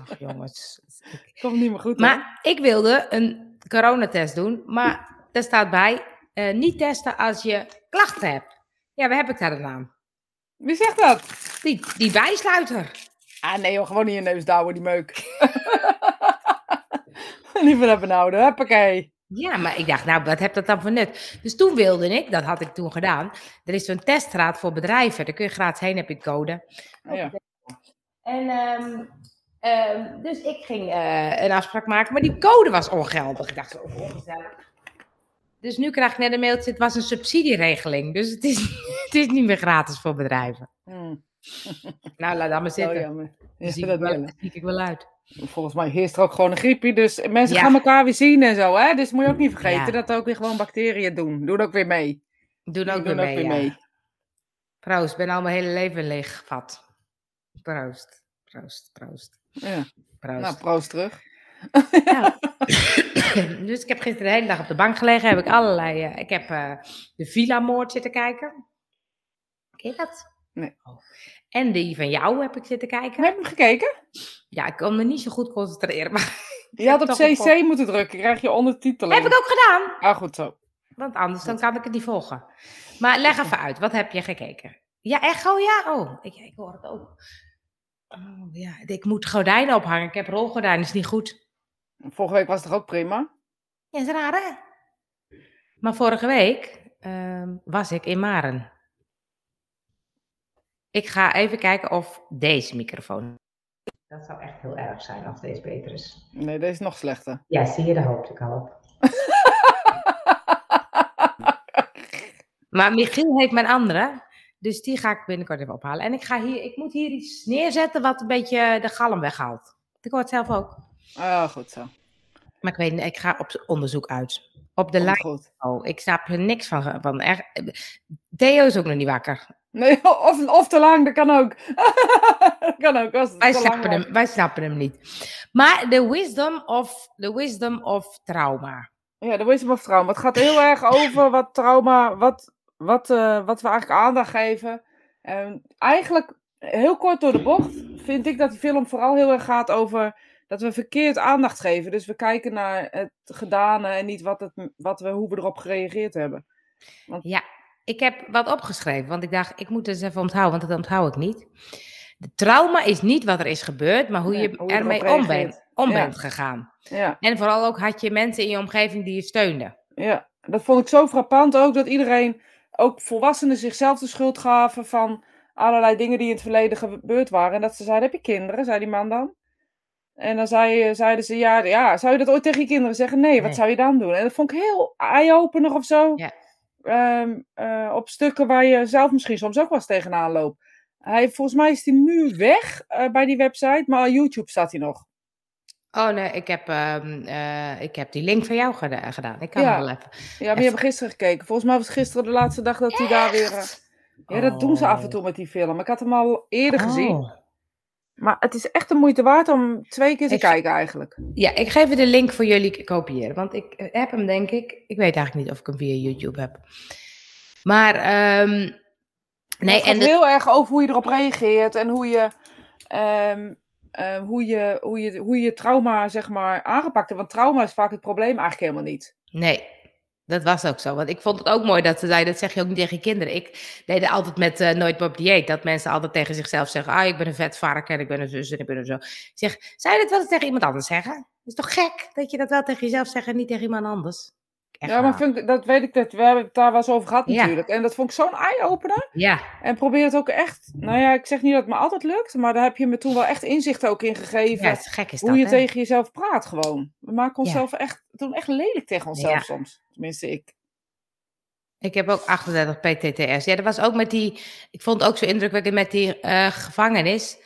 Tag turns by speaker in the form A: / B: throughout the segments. A: Ach jongens.
B: Komt niet meer goed. hoor.
A: Maar ik wilde een coronatest doen, maar daar staat bij, eh, niet testen als je klachten hebt. Ja, waar heb ik daar een naam?
B: Wie zegt dat?
A: Die, die bijsluiter.
B: Ah nee joh, gewoon in je neus douwen, die meuk. Liever hebben houden, huppakee.
A: Ja, maar ik dacht, nou, wat heb dat dan voor nut? Dus toen wilde ik, dat had ik toen gedaan, er is zo'n testraad voor bedrijven. Daar kun je gratis heen, heb je een code.
B: Ja.
A: En ehm, ehm, dus ik ging eh, een afspraak maken, maar die code was ongeldig. Ik dacht, oh, ongezellig. Dus nu krijg ik net een mailtje, het was een subsidieregeling. Dus het is, het is niet meer gratis voor bedrijven.
B: Hmm,
A: Nou, laat dat maar
B: wel
A: zitten.
B: jammer.
A: Dan
B: Oh, Ja,
A: zie, ik
B: dat
A: wel,
B: wel.
A: dan zie ik wel uit.
B: Volgens mij heerst er ook gewoon een griepje, dus mensen
A: Ja.
B: gaan elkaar weer zien en zo. Hè? Dus moet je ook niet vergeten
A: Ja.
B: dat er ook weer gewoon bacteriën doen. Doe dat ook weer mee.
A: Doe
B: Die
A: ook weer
B: doen
A: mee. ja. Proost, ik ben al mijn hele leven leeggevat. Proost, proost, proost,
B: Ja.
A: proost.
B: Nou, proost terug.
A: Ja. dus ik heb gisteren de hele dag op de bank gelegen. Heb ik allerlei. eh, ik heb eh, de Villa-moord zitten kijken. Ken je dat?
B: Nee.
A: Oh. En die van jou heb ik zitten kijken.
B: Heb je hem gekeken?
A: Ja, ik kon me niet zo goed concentreren. Maar
B: Je had op
A: toch een
B: CC
A: pop.
B: moeten drukken, krijg je ondertiteling.
A: heb ik ook gedaan.
B: Ah, goed zo.
A: Want anders dan kan ik het niet volgen. Maar leg even uit. Wat heb je gekeken? Ja, echt? Oh ja. Oh, ik, ik hoor het ook. Oh, ja. Ik moet gordijnen ophangen. Ik heb rolgordijnen. is niet goed.
B: Vorige week was het toch ook prima?
A: Ja, is raar hè? Maar vorige week ehm, was ik in Maren. Ik ga even kijken of deze microfoon. Dat zou echt heel erg zijn als deze beter is.
B: Nee, deze is nog slechter.
A: Ja, zie je, daar hoopte ik al op. maar Michiel heeft mijn andere. Dus die ga ik binnenkort even ophalen. En ik, ga hier, ik moet hier iets neerzetten wat een beetje de galm weghaalt. Ik hoor het zelf ook.
B: Ah, goed zo.
A: Maar ik weet niet, ik ga op onderzoek uit. Op de
B: Komt
A: lijn.
B: goed.
A: Oh, ik snap er niks van. van echt. eh, Theo is ook nog niet wakker.
B: Nee, of, of te lang, dat kan ook. dat kan ook, als het
A: Wij
B: te lang
A: snappen, hem, wij snappen hem niet. Maar de wisdom of, the wisdom of trauma.
B: Ja, de wisdom of trauma. Het gaat heel erg over wat trauma, wat, wat, eh, wat we eigenlijk aandacht geven. En eigenlijk, heel kort door de bocht, vind ik dat die film vooral heel erg gaat over dat we verkeerd aandacht geven. Dus we kijken naar het gedane en niet wat het, wat we, hoe we erop gereageerd hebben.
A: Ik heb wat opgeschreven, want ik dacht, ik moet het eens even onthouden, want dat onthoud ik niet. De trauma is niet wat er is gebeurd, maar hoe
B: Nee,
A: je
B: hoe je erop
A: ermee om, bent,
B: reageert.
A: om
B: Ja.
A: bent gegaan.
B: Ja.
A: En vooral ook had je mensen in je omgeving die je steunden.
B: Ja, dat vond ik zo frappant ook dat iedereen, ook volwassenen, zichzelf de schuld gaven van allerlei dingen die in het verleden gebeurd waren. En dat ze zeiden: Heb je kinderen? zei die man dan. En dan zei, eh, zeiden ze: ja, ja, zou je dat ooit tegen je kinderen zeggen? Nee,
A: Nee.
B: wat zou je dan doen? En dat vond ik heel eye-opener of zo.
A: Ja.
B: Ehm, eh, op stukken waar je zelf misschien soms ook wel eens tegenaan loopt. Hij, volgens mij is hij nu weg eh, bij die website, maar op YouTube staat hij nog.
A: Oh nee, ik heb, ehm, eh, ik heb die link van jou geda- gedaan. Ik kan
B: Ja.
A: hem wel even.
B: Ja, maar je hebt gisteren gekeken. Volgens mij was gisteren de laatste dag dat hij daar weer. eh, Ja, dat doen ze af en toe met die film. Ik had hem al eerder gezien.
A: Oh.
B: Maar het is echt de moeite waard om twee keer te
A: Ik-
B: kijken eigenlijk.
A: Ja, ik geef je de link voor jullie kopiëren. Want ik eh, heb hem, denk ik. Ik weet eigenlijk niet of ik hem via YouTube heb. Maar, ehm,
B: Nee,
A: nee,
B: het gaat
A: en de-
B: heel erg over hoe je erop reageert en hoe je, ehm, eh, hoe je, hoe je, hoe je trauma zeg maar, aangepakt hebt. Want trauma is vaak het probleem eigenlijk helemaal niet.
A: nee, dat was ook zo. Want ik vond het ook mooi dat ze zei, dat zeg je ook niet tegen je kinderen. Ik deed het altijd met eh, Nooit meer op dieet. Dat mensen altijd tegen zichzelf zeggen, ah, ik ben een vet varken en ik ben een zus en ik ben een zo. Ik zeg, zou je dat wel eens tegen iemand anders zeggen? Het is toch gek dat je dat wel tegen jezelf zegt en niet tegen iemand anders? Echt
B: ja, maar
A: waar.
B: vind ik- dat weet ik dat. We hebben het daar wel eens over gehad
A: Ja.
B: natuurlijk. En dat vond ik zo'n eye-opener.
A: Ja,
B: En probeer het ook echt. Nou ja, ik zeg niet dat het me altijd lukt, maar daar heb je me toen wel echt inzicht ook in gegeven.
A: ja, het is gek is dat,
B: hoe je
A: hè?
B: tegen jezelf praat gewoon. We maken
A: Ja.
B: onszelf echt, we doen echt lelijk tegen onszelf
A: Ja.
B: soms. Tenminste, ik.
A: Ik heb ook 38 PTTS. Ja, dat was ook met die. Ik vond het ook zo indrukwekkend met die eh, gevangenis.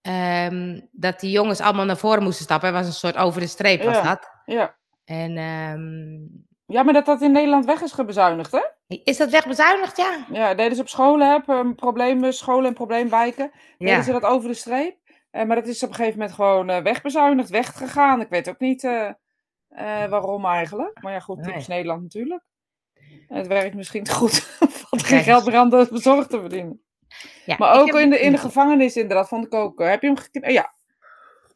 A: ehm, dat die jongens allemaal naar voren moesten stappen. Er was een soort over de streep, was
B: Ja.
A: dat.
B: Ja.
A: En ehm,
B: ja, maar dat dat in Nederland weg is gebezuinigd, hè?
A: is dat wegbezuinigd? Ja.
B: Ja, dat deden ze op scholen, hè? p- Problemen, scholen en probleemwijken. Deden
A: Ja.
B: ze dat over de streep. Eh, maar dat is op een gegeven moment gewoon eh, wegbezuinigd, weggegaan. Ik weet ook niet eh, eh, waarom eigenlijk. Maar ja, goed, typisch Nederland natuurlijk. Het werkt misschien te goed. Wat geen
A: Kijk
B: geld
A: eens.
B: meer aan de zorg te verdienen.
A: ja
B: Maar
A: ik
B: ook
A: heb
B: in de,
A: die-
B: in de gevangenis, inderdaad, vond ik ook. eh, Heb je hem gekeken? eh, Ja.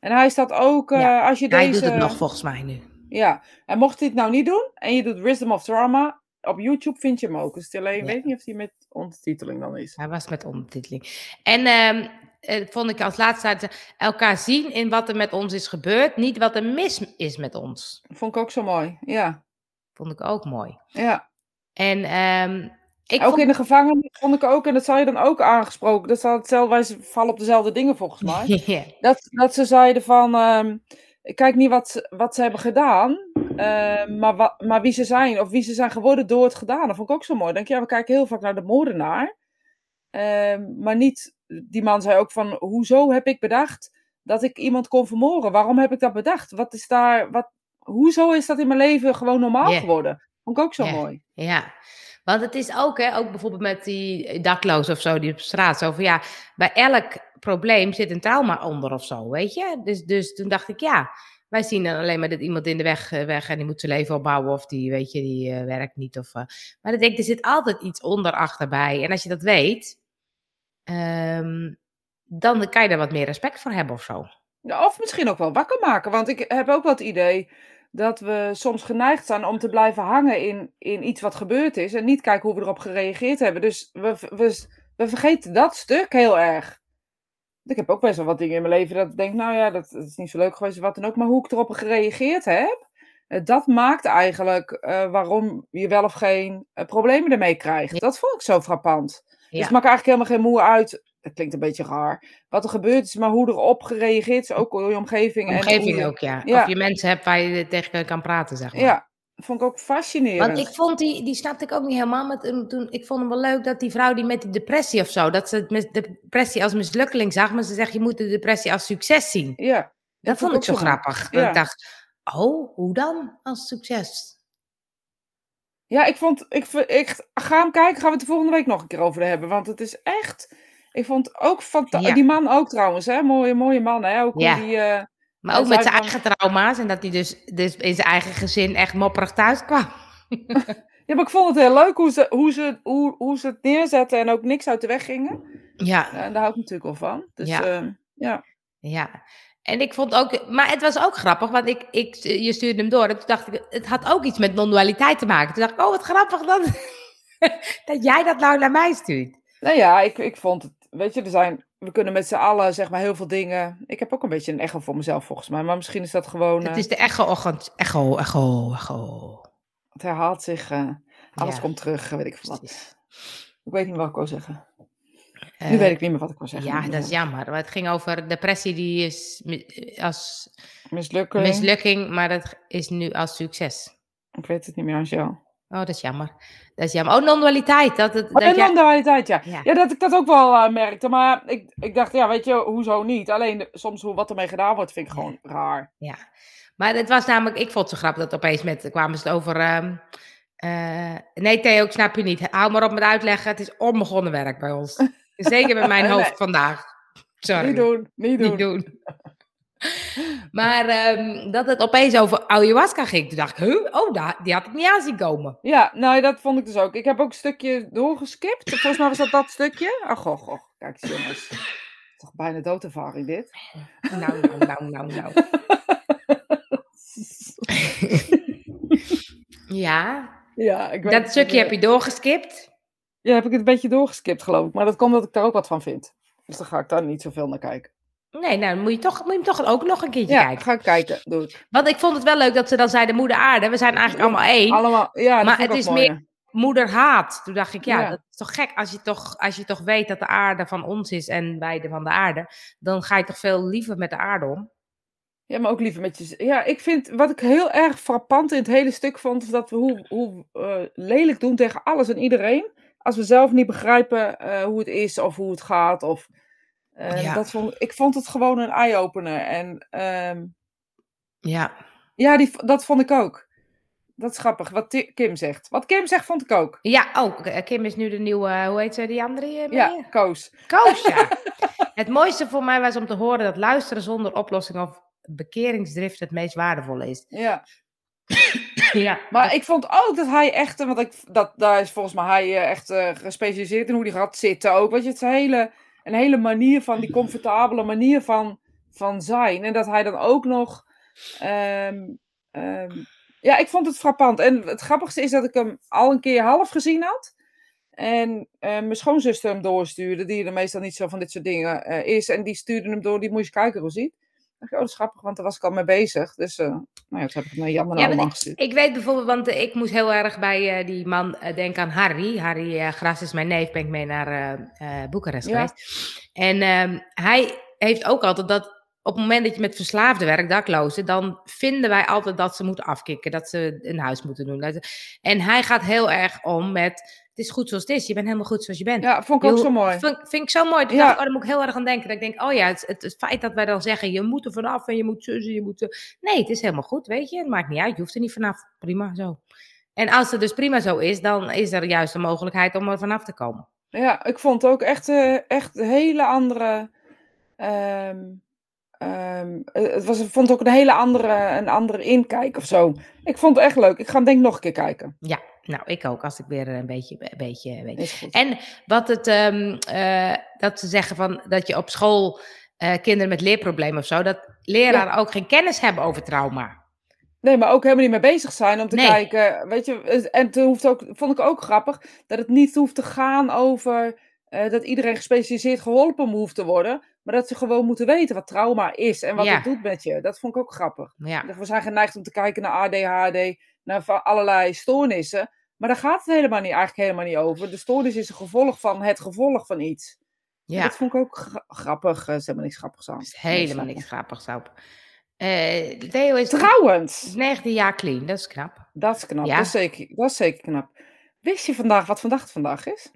B: En hij staat ook, eh,
A: Ja,
B: als je
A: Hij
B: deze...
A: doet het nog volgens mij nu.
B: Ja, en mocht hij het nou niet doen en je doet Wisdom of Drama, op YouTube vind je hem ook. Dus het alleen
A: Ja.
B: weet niet of hij met ondertiteling dan is.
A: Hij was met ondertiteling. En ehm, eh, vond ik als laatste uit, eh, elkaar zien in wat er met ons is gebeurd, niet wat er mis is met ons.
B: Vond ik ook zo mooi. Ja,
A: Vond ik ook mooi.
B: ja.
A: En ehm, ik
B: ook
A: vond-
B: in de gevangenis vond ik ook, en dat zal je dan ook aangesproken. Dat zal hetzelfde, wij z- vallen op dezelfde dingen volgens mij.
A: Ja.
B: dat, dat ze zeiden van, ehm, kijk niet wat ze, wat ze hebben gedaan, ehm, maar, wa- maar wie ze zijn of wie ze zijn geworden door het gedaan. Dat vond ik ook zo mooi. Dan denk ik, ja, we kijken heel vaak naar de moordenaar, ehm, maar niet, die man zei ook van, hoezo heb ik bedacht dat ik iemand kon vermoorden? Waarom heb ik dat bedacht? Wat is daar, wat, hoezo is dat in mijn leven gewoon normaal
A: Ja.
B: geworden? Vond ik ook zo
A: Ja.
B: mooi.
A: Ja, want het is ook, hè, ook bijvoorbeeld met die daklozen of zo die op straat. Zo van ja, bij elk probleem zit een trauma onder of zo, weet je? Dus, dus toen dacht ik ja, wij zien dan alleen maar dat iemand in de weg, eh, weg en die moet zijn leven opbouwen of die, weet je, die eh, werkt niet. Of, eh, maar dan denk ik, er zit altijd iets onder achterbij. En als je dat weet, ehm, dan kan je daar wat meer respect voor hebben of zo.
B: Ja, Of misschien ook wel wakker maken. Want ik heb ook wel het idee dat we soms geneigd zijn om te blijven hangen in, in iets wat gebeurd is. En niet kijken hoe we erop gereageerd hebben. Dus we, v- we, s- we vergeten dat stuk heel erg. Ik heb ook best wel wat dingen in mijn leven dat ik denk, nou ja, dat, dat is niet zo leuk geweest, wat dan ook. Maar hoe ik erop gereageerd heb, eh, dat maakt eigenlijk eh, waarom je wel of geen eh, problemen ermee krijgt. Dat vond ik zo frappant.
A: Ja.
B: Dus het maakt eigenlijk helemaal geen moe uit. Het klinkt een beetje raar. Wat er gebeurd is, maar hoe erop gereageerd is, ook door je omgeving. en hoe
A: Omgeving
B: je-
A: ook, ja.
B: ja.
A: Of je mensen hebt waar je tegen kan praten, zeg maar.
B: Ja, vond ik ook fascinerend.
A: Want ik vond die, die snapte ik ook niet helemaal. Maar toen, toen- ik vond hem wel leuk dat die vrouw die met die depressie of zo, dat ze het mis- de depressie als mislukkeling zag, maar ze zegt je moet de depressie als succes zien.
B: Ja, dat,
A: Dat vond ik zo
B: ook mooi.
A: grappig. Dat
B: Ja.
A: Ik dacht, oh, hoe dan als succes?
B: Ja, ik vond. Ik, v- ik ga hem kijken. Gaan we het de volgende week nog een keer over hebben? Want het is echt. Ik vond ook fantastisch.
A: Ja.
B: Die man ook trouwens, hè? Mooie, mooie man, hè? Ook hoe
A: Ja.
B: die. eh,
A: Maar
B: Dat
A: ook
B: zou
A: met zijn
B: ik
A: eigen trauma's en dat hij dus, dus in zijn eigen gezin echt mopperig thuis kwam.
B: Ja, maar ik vond het heel leuk hoe ze, hoe ze, hoe, hoe ze het neerzetten en ook niks uit de weg gingen.
A: Ja,
B: En daar hou ik natuurlijk wel van. Dus
A: Ja.
B: ja. ja.
A: ja. En ik vond ook, maar het was ook grappig, want ik, ik, je stuurde hem door. En toen dacht ik, het had ook iets met non-dualiteit te maken. Toen dacht ik, oh, wat grappig dat, dat jij dat nou naar mij stuurt.
B: Nou ja, ik, ik vond het. Weet je, er zijn. We kunnen met z'n allen zeg maar heel veel dingen. Ik heb ook een beetje een echo voor mezelf volgens mij. Maar misschien is dat gewoon.
A: Het
B: eh,
A: is de echo-ochtend. Echo, echo, echo.
B: het herhaalt zich. eh, alles
A: Ja,
B: komt terug. eh, Weet ik veel wat.
A: precies.
B: Ik weet niet wat ik wil zeggen.
A: Eh,
B: nu weet ik niet meer wat ik wil zeggen.
A: Ja, dat is jammer. Maar het ging over depressie die is mi- eh, als
B: Mislukken.
A: mislukking, maar dat is nu als succes.
B: Ik weet het niet meer, Angel.
A: Oh, dat is jammer. Dat is jammer. Oh, non-dualiteit. Dat, het- dat,
B: Maar Oh, en
A: jij-
B: dan de realiteit, ja.
A: Ja.
B: ja. dat ik dat ook wel eh, merkte. Maar ik, ik dacht, ja, weet je, hoezo niet? Alleen de- soms hoe, wat ermee gedaan wordt, vind ik
A: Ja.
B: gewoon raar.
A: Ja, maar het was namelijk, ik vond het zo grappig dat opeens met, kwamen ze het over. ehm, eh, nee, Theo, ik snap je niet. Hou maar op met uitleggen. Het is onbegonnen werk bij ons. Zeker bij mijn
B: Nee.
A: hoofd vandaag. Sorry.
B: Niet doen, niet doen.
A: Niet doen. maar ehm, dat het opeens over ayahuasca ging, toen dacht ik, huh? oh, da- die had ik niet aan zien komen.
B: Ja, nou, dat vond ik dus ook. Ik heb ook een stukje doorgeskipt. Volgens mij was dat dat stukje. Ach, goh, goh. Kijk eens, jongens. Toch bijna doodervaring, dit.
A: Nou, nou, nou, nou, nou. ja,
B: Ja, ik weet het
A: dat
B: niet
A: stukje heb
B: meer.
A: je doorgeskipt.
B: Ja, heb ik het een beetje doorgeskipt, geloof ik. Maar dat komt omdat ik daar ook wat van vind. Dus dan ga ik daar niet zoveel naar kijken.
A: Nee, nou, dan moet je, toch, moet je hem toch ook nog een keertje
B: Ja,
A: kijken.
B: ga ik kijken. Doe ik.
A: Want ik vond het wel leuk dat ze dan zeiden moeder aarde. We zijn eigenlijk allemaal één.
B: Allemaal. Ja, dat
A: Maar
B: vond ik
A: het
B: ook
A: is
B: mooi.
A: meer- Moeder haat. Toen dacht ik, ja,
B: Ja.
A: dat is toch gek. Als je toch, als je toch weet dat de aarde van ons is en wij de van de aarde. Dan ga je toch veel liever met de aarde om.
B: Ja, maar ook liever met je. Ja, ik vind wat ik heel erg frappant in het hele stuk vond, is dat we hoe, hoe eh, lelijk doen tegen alles en iedereen. Als we zelf niet begrijpen eh, hoe het is of hoe het gaat. Of, eh,
A: Ja.
B: dat vond, ik vond het gewoon een eye-opener. En ehm,
A: Ja.
B: ja, die, v- dat vond ik ook. Dat is grappig, wat Ti- Kim zegt. Wat Kim zegt, vond ik ook.
A: Ja, oh, eh, Kim is nu de nieuwe, eh, hoe heet ze, die andere eh,
B: Ja,
A: meneer?
B: Koos.
A: Koos, ja. Het mooiste voor mij was om te horen dat luisteren zonder oplossing of bekeringsdrift het meest waardevolle is.
B: Ja.
A: Ja.
B: Maar ik vond ook dat hij echt, eh, want ik, dat, daar is volgens mij hij eh, echt eh, gespecialiseerd in hoe die gaat zitten ook. Weet je, het is een hele, een hele manier van, die comfortabele manier van van zijn. En dat hij dan ook nog. ehm, ehm, ja, ik vond het frappant. En het grappigste is dat ik hem al een keer half gezien had. En eh, mijn schoonzuster hem doorstuurde, die er meestal niet zo van dit soort dingen eh, is. En die stuurde hem door, die moet je eens kijken, Rosie. Ik dacht, oh, dat is grappig, want daar was ik al mee bezig. Dus eh, nou ja, dat heb ik nou jammer
A: Ja,
B: naar
A: maar
B: allemaal gestuurd.
A: Ik weet bijvoorbeeld, want eh, ik moest heel erg bij eh, die man eh, denken aan Harry. Harry eh Gras is mijn neef, ben ik mee naar eh, eh, Boekarest
B: Ja.
A: geweest. En ehm, hij heeft ook altijd dat op het moment dat je met verslaafden werkt, daklozen, dan vinden wij altijd dat ze moeten afkicken, dat ze een huis moeten doen. Dat ze- En hij gaat heel erg om met, het is goed zoals het is, je bent helemaal goed zoals je bent.
B: Ja, vond ik ook
A: Je
B: zo
A: ho-
B: mooi.
A: Vind, vind ik zo mooi. Toen
B: Ja.
A: dacht ik, oh, daar moet ik heel erg aan denken. Dat ik denk, oh ja, het, het, het feit dat wij dan zeggen, je moet er vanaf en je moet zussen, je moet... zo- Nee, het is helemaal goed, weet je. Het maakt niet uit, je hoeft er niet vanaf. Prima zo. En als het dus prima zo is, dan is er juist de mogelijkheid om er vanaf te komen.
B: Ja, ik vond ook echt, eh, echt een hele andere. ehm, ehm, eh, het was, ik vond ook een hele andere, een andere inkijk of zo. Ik vond het echt leuk. Ik ga hem denk ik nog een keer kijken.
A: Nou, ik ook, als ik weer een beetje... Een beetje, een beetje.
B: Is goed.
A: En wat het, ehm, eh, dat ze zeggen van, dat je op school eh, kinderen met leerproblemen of zo, dat leraren ook geen kennis hebben over trauma.
B: Nee, maar ook helemaal niet mee bezig zijn om te
A: Nee.
B: kijken. Weet je, eh, en toen hoeft ook, vond ik ook grappig dat het niet hoeft te gaan over eh, dat iedereen gespecialiseerd geholpen hoeft te worden. Maar dat ze gewoon moeten weten wat trauma is en wat
A: Ja.
B: het doet met je. Dat vond ik ook grappig.
A: Ja,
B: We zijn geneigd om te kijken naar ADHD, naar va- allerlei stoornissen. Maar daar gaat het helemaal niet, eigenlijk helemaal niet over. De stoornis is een gevolg van het gevolg van iets. En
A: ja.
B: Dat vond ik ook gra- grappig. Er is helemaal niks grappigs aan.
A: Dat is helemaal niks grappigs op. Eh, Theo is
B: Trouwens,
A: 19 jaar clean, dat is knap.
B: dat is knap.
A: Ja.
B: Dat, is zeker, dat is zeker knap. Wist je vandaag wat vandaag het vandaag is?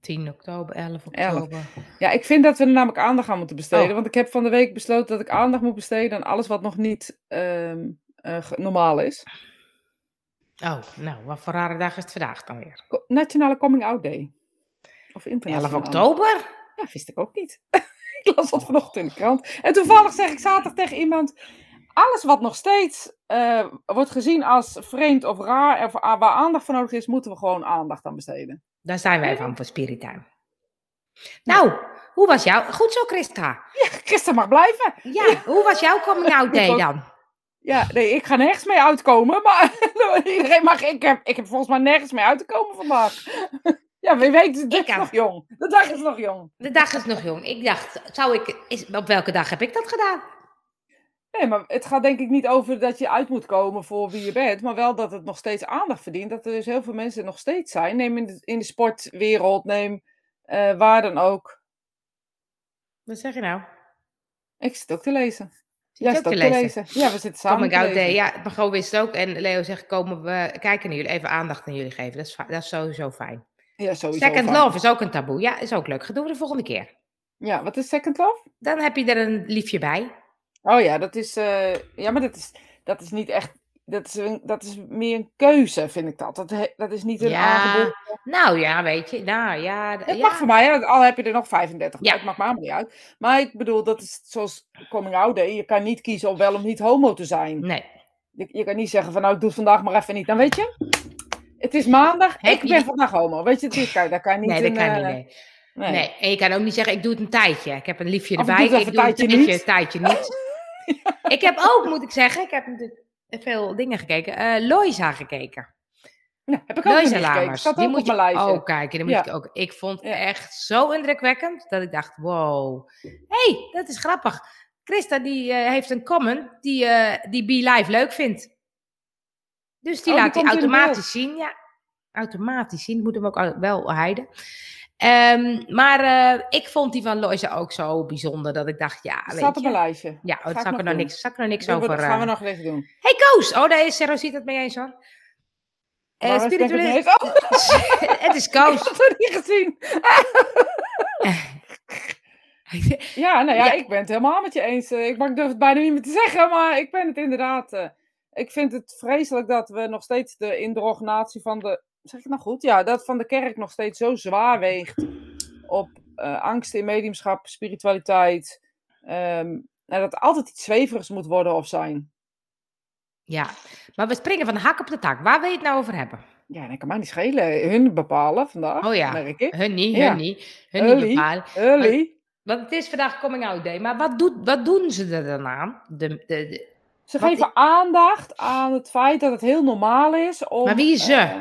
A: 10 oktober, 11
B: Elf.
A: oktober.
B: Ja, ik vind dat we er namelijk aandacht aan moeten besteden.
A: Oh.
B: Want ik heb van de week besloten dat ik aandacht moet besteden aan alles wat nog niet ehm, eh, ge- normaal is.
A: Oh, nou, wat voor rare dag is het vandaag dan weer?
B: Co- Nationale Coming Out Day.
A: 11
B: Of internationaal.
A: oktober?
B: Ja, Nou, wist ik ook niet. ik las dat vanochtend in de krant. En toevallig zeg ik zaterdag tegen iemand... Alles wat nog steeds eh, wordt gezien als vreemd of raar... of a- waar aandacht voor nodig is, moeten we gewoon aandacht aan besteden.
A: Daar zijn wij van voor Spirituin. Nou, hoe was jouw... Goed zo, Christa.
B: Christen mag blijven.
A: Ja, hoe was jouw coming out day
B: ook.
A: dan?
B: Ja, nee, ik ga nergens mee uitkomen. Maar iedereen mag... Ik heb, ik heb volgens mij nergens mee uit te komen vandaag. ja, wie weet, de dag is
A: ook.
B: nog jong. De dag is nog jong.
A: De dag is nog jong. Ik dacht, zou ik, is, op welke dag heb ik dat gedaan?
B: Nee, maar het gaat denk ik niet over dat je uit moet komen voor wie je bent, maar wel dat het nog steeds aandacht verdient. Dat er dus heel veel mensen nog steeds zijn. Neem in de, in de sportwereld, neem eh, waar dan ook.
A: Wat zeg je nou?
B: Ik zit ook te lezen.
A: Zit je ook te lezen?
B: Ja, we zitten samen
A: Coming
B: te
A: out day,
B: lezen.
A: ja. Maar gewoon wist het ook. En Leo zegt, komen we kijken naar jullie. Even aandacht aan jullie geven. Dat is, fi- dat is sowieso fijn.
B: Ja, sowieso.
A: Second
B: fijn.
A: love is ook een taboe. Ja, is ook leuk. Dat doen we de volgende keer.
B: Ja, wat is second love?
A: Dan heb je er een liefje bij.
B: Oh ja, dat is, eh, ja, maar dat is, dat is niet echt, dat is, een, dat is meer een keuze, vind ik dat. Dat, he- dat is niet een
A: Ja,
B: aangeboden.
A: Nou ja, weet je. Nou ja. d-
B: Het
A: ja.
B: mag voor mij, hè, al heb je er nog 35.
A: Ja.
B: Ja. Het maakt me helemaal niet uit. Maar ik bedoel, dat is zoals coming out day. Je kan niet kiezen om wel of niet homo te zijn.
A: Nee.
B: Je, je kan niet zeggen van nou, ik doe het vandaag maar even niet. Dan weet je, het is maandag.
A: Heb
B: ik
A: je-
B: ben vandaag homo. Weet je, dit kan, daar kan je niet
A: Nee, dat
B: in,
A: kan niet.
B: eh,
A: Nee. nee. En je kan ook niet zeggen, ik doe het een tijdje. Ik heb een liefje
B: Of ik
A: erbij.
B: doe het
A: ik
B: even een tijdje
A: een
B: niet.
A: tijdje niet. ik heb ook, moet ik zeggen, ik heb natuurlijk veel dingen gekeken. Eh Loisa gekeken.
B: Nou, heb ik ook nog
A: Loisa
B: niet gekeken.
A: Lamers.
B: Staat ook
A: Die moet
B: op mijn
A: je
B: lijstje.
A: ook kijken. Die moet
B: Ja.
A: ik, ook. ik vond
B: Ja.
A: echt zo indrukwekkend dat ik dacht, wow. hey, dat is grappig. Christa die eh, heeft een comment die, eh die Be Live leuk vindt. Dus die
B: Oh, die
A: laat hij
B: komt in beeld.
A: automatisch zien. Ja, automatisch zien. Ik moet hem ook al- wel heiden. Ehm, maar eh, ik vond die van Loisa ook zo bijzonder dat ik dacht, ja, ah, weet
B: Staat op
A: je.
B: mijn lijstje.
A: Ja, oh,
B: ik
A: daar zag ik
B: nog
A: er nog
B: doen.
A: niks, zag ik er nog niks
B: Doen we-
A: over.
B: dat gaan we nou-
A: eh.
B: nog even doen.
A: Hey Koos! Oh, daar is Sarah ziet het mee eens hoor. Eh,
B: Waar is Beck het mee
A: spirituele-
B: eens? Oh,
A: het is
B: ik
A: Koos.
B: had het niet gezien. Ja, nou ja,
A: Ja.
B: ik ben het helemaal met je eens. Eh, Ik, maar ik durf het bijna niet meer te zeggen, maar ik ben het inderdaad. eh, Ik vind het vreselijk dat we nog steeds de indrognatie van de. Zeg ik het nou goed? Ja, dat van de kerk nog steeds zo zwaar weegt op eh, angst in mediumschap, spiritualiteit. ehm, en dat er altijd iets zweverigs moet worden of zijn.
A: Ja, maar we springen van de hak op de tak. Waar wil je het nou over hebben?
B: Ja, dat kan mij niet schelen. Hun bepalen vandaag.
A: Oh ja.
B: Merk ik.
A: Hun niet, hun
B: Ja.
A: niet. Hun niet
B: Ellie.
A: bepalen.
B: Early.
A: Want het is vandaag Coming Out Day. Maar wat, doet, wat doen ze er dan aan? De, de, de-
B: Ze
A: Wat
B: geven aandacht aan het feit dat het heel normaal is om...
A: Maar wie is ze?
B: eh,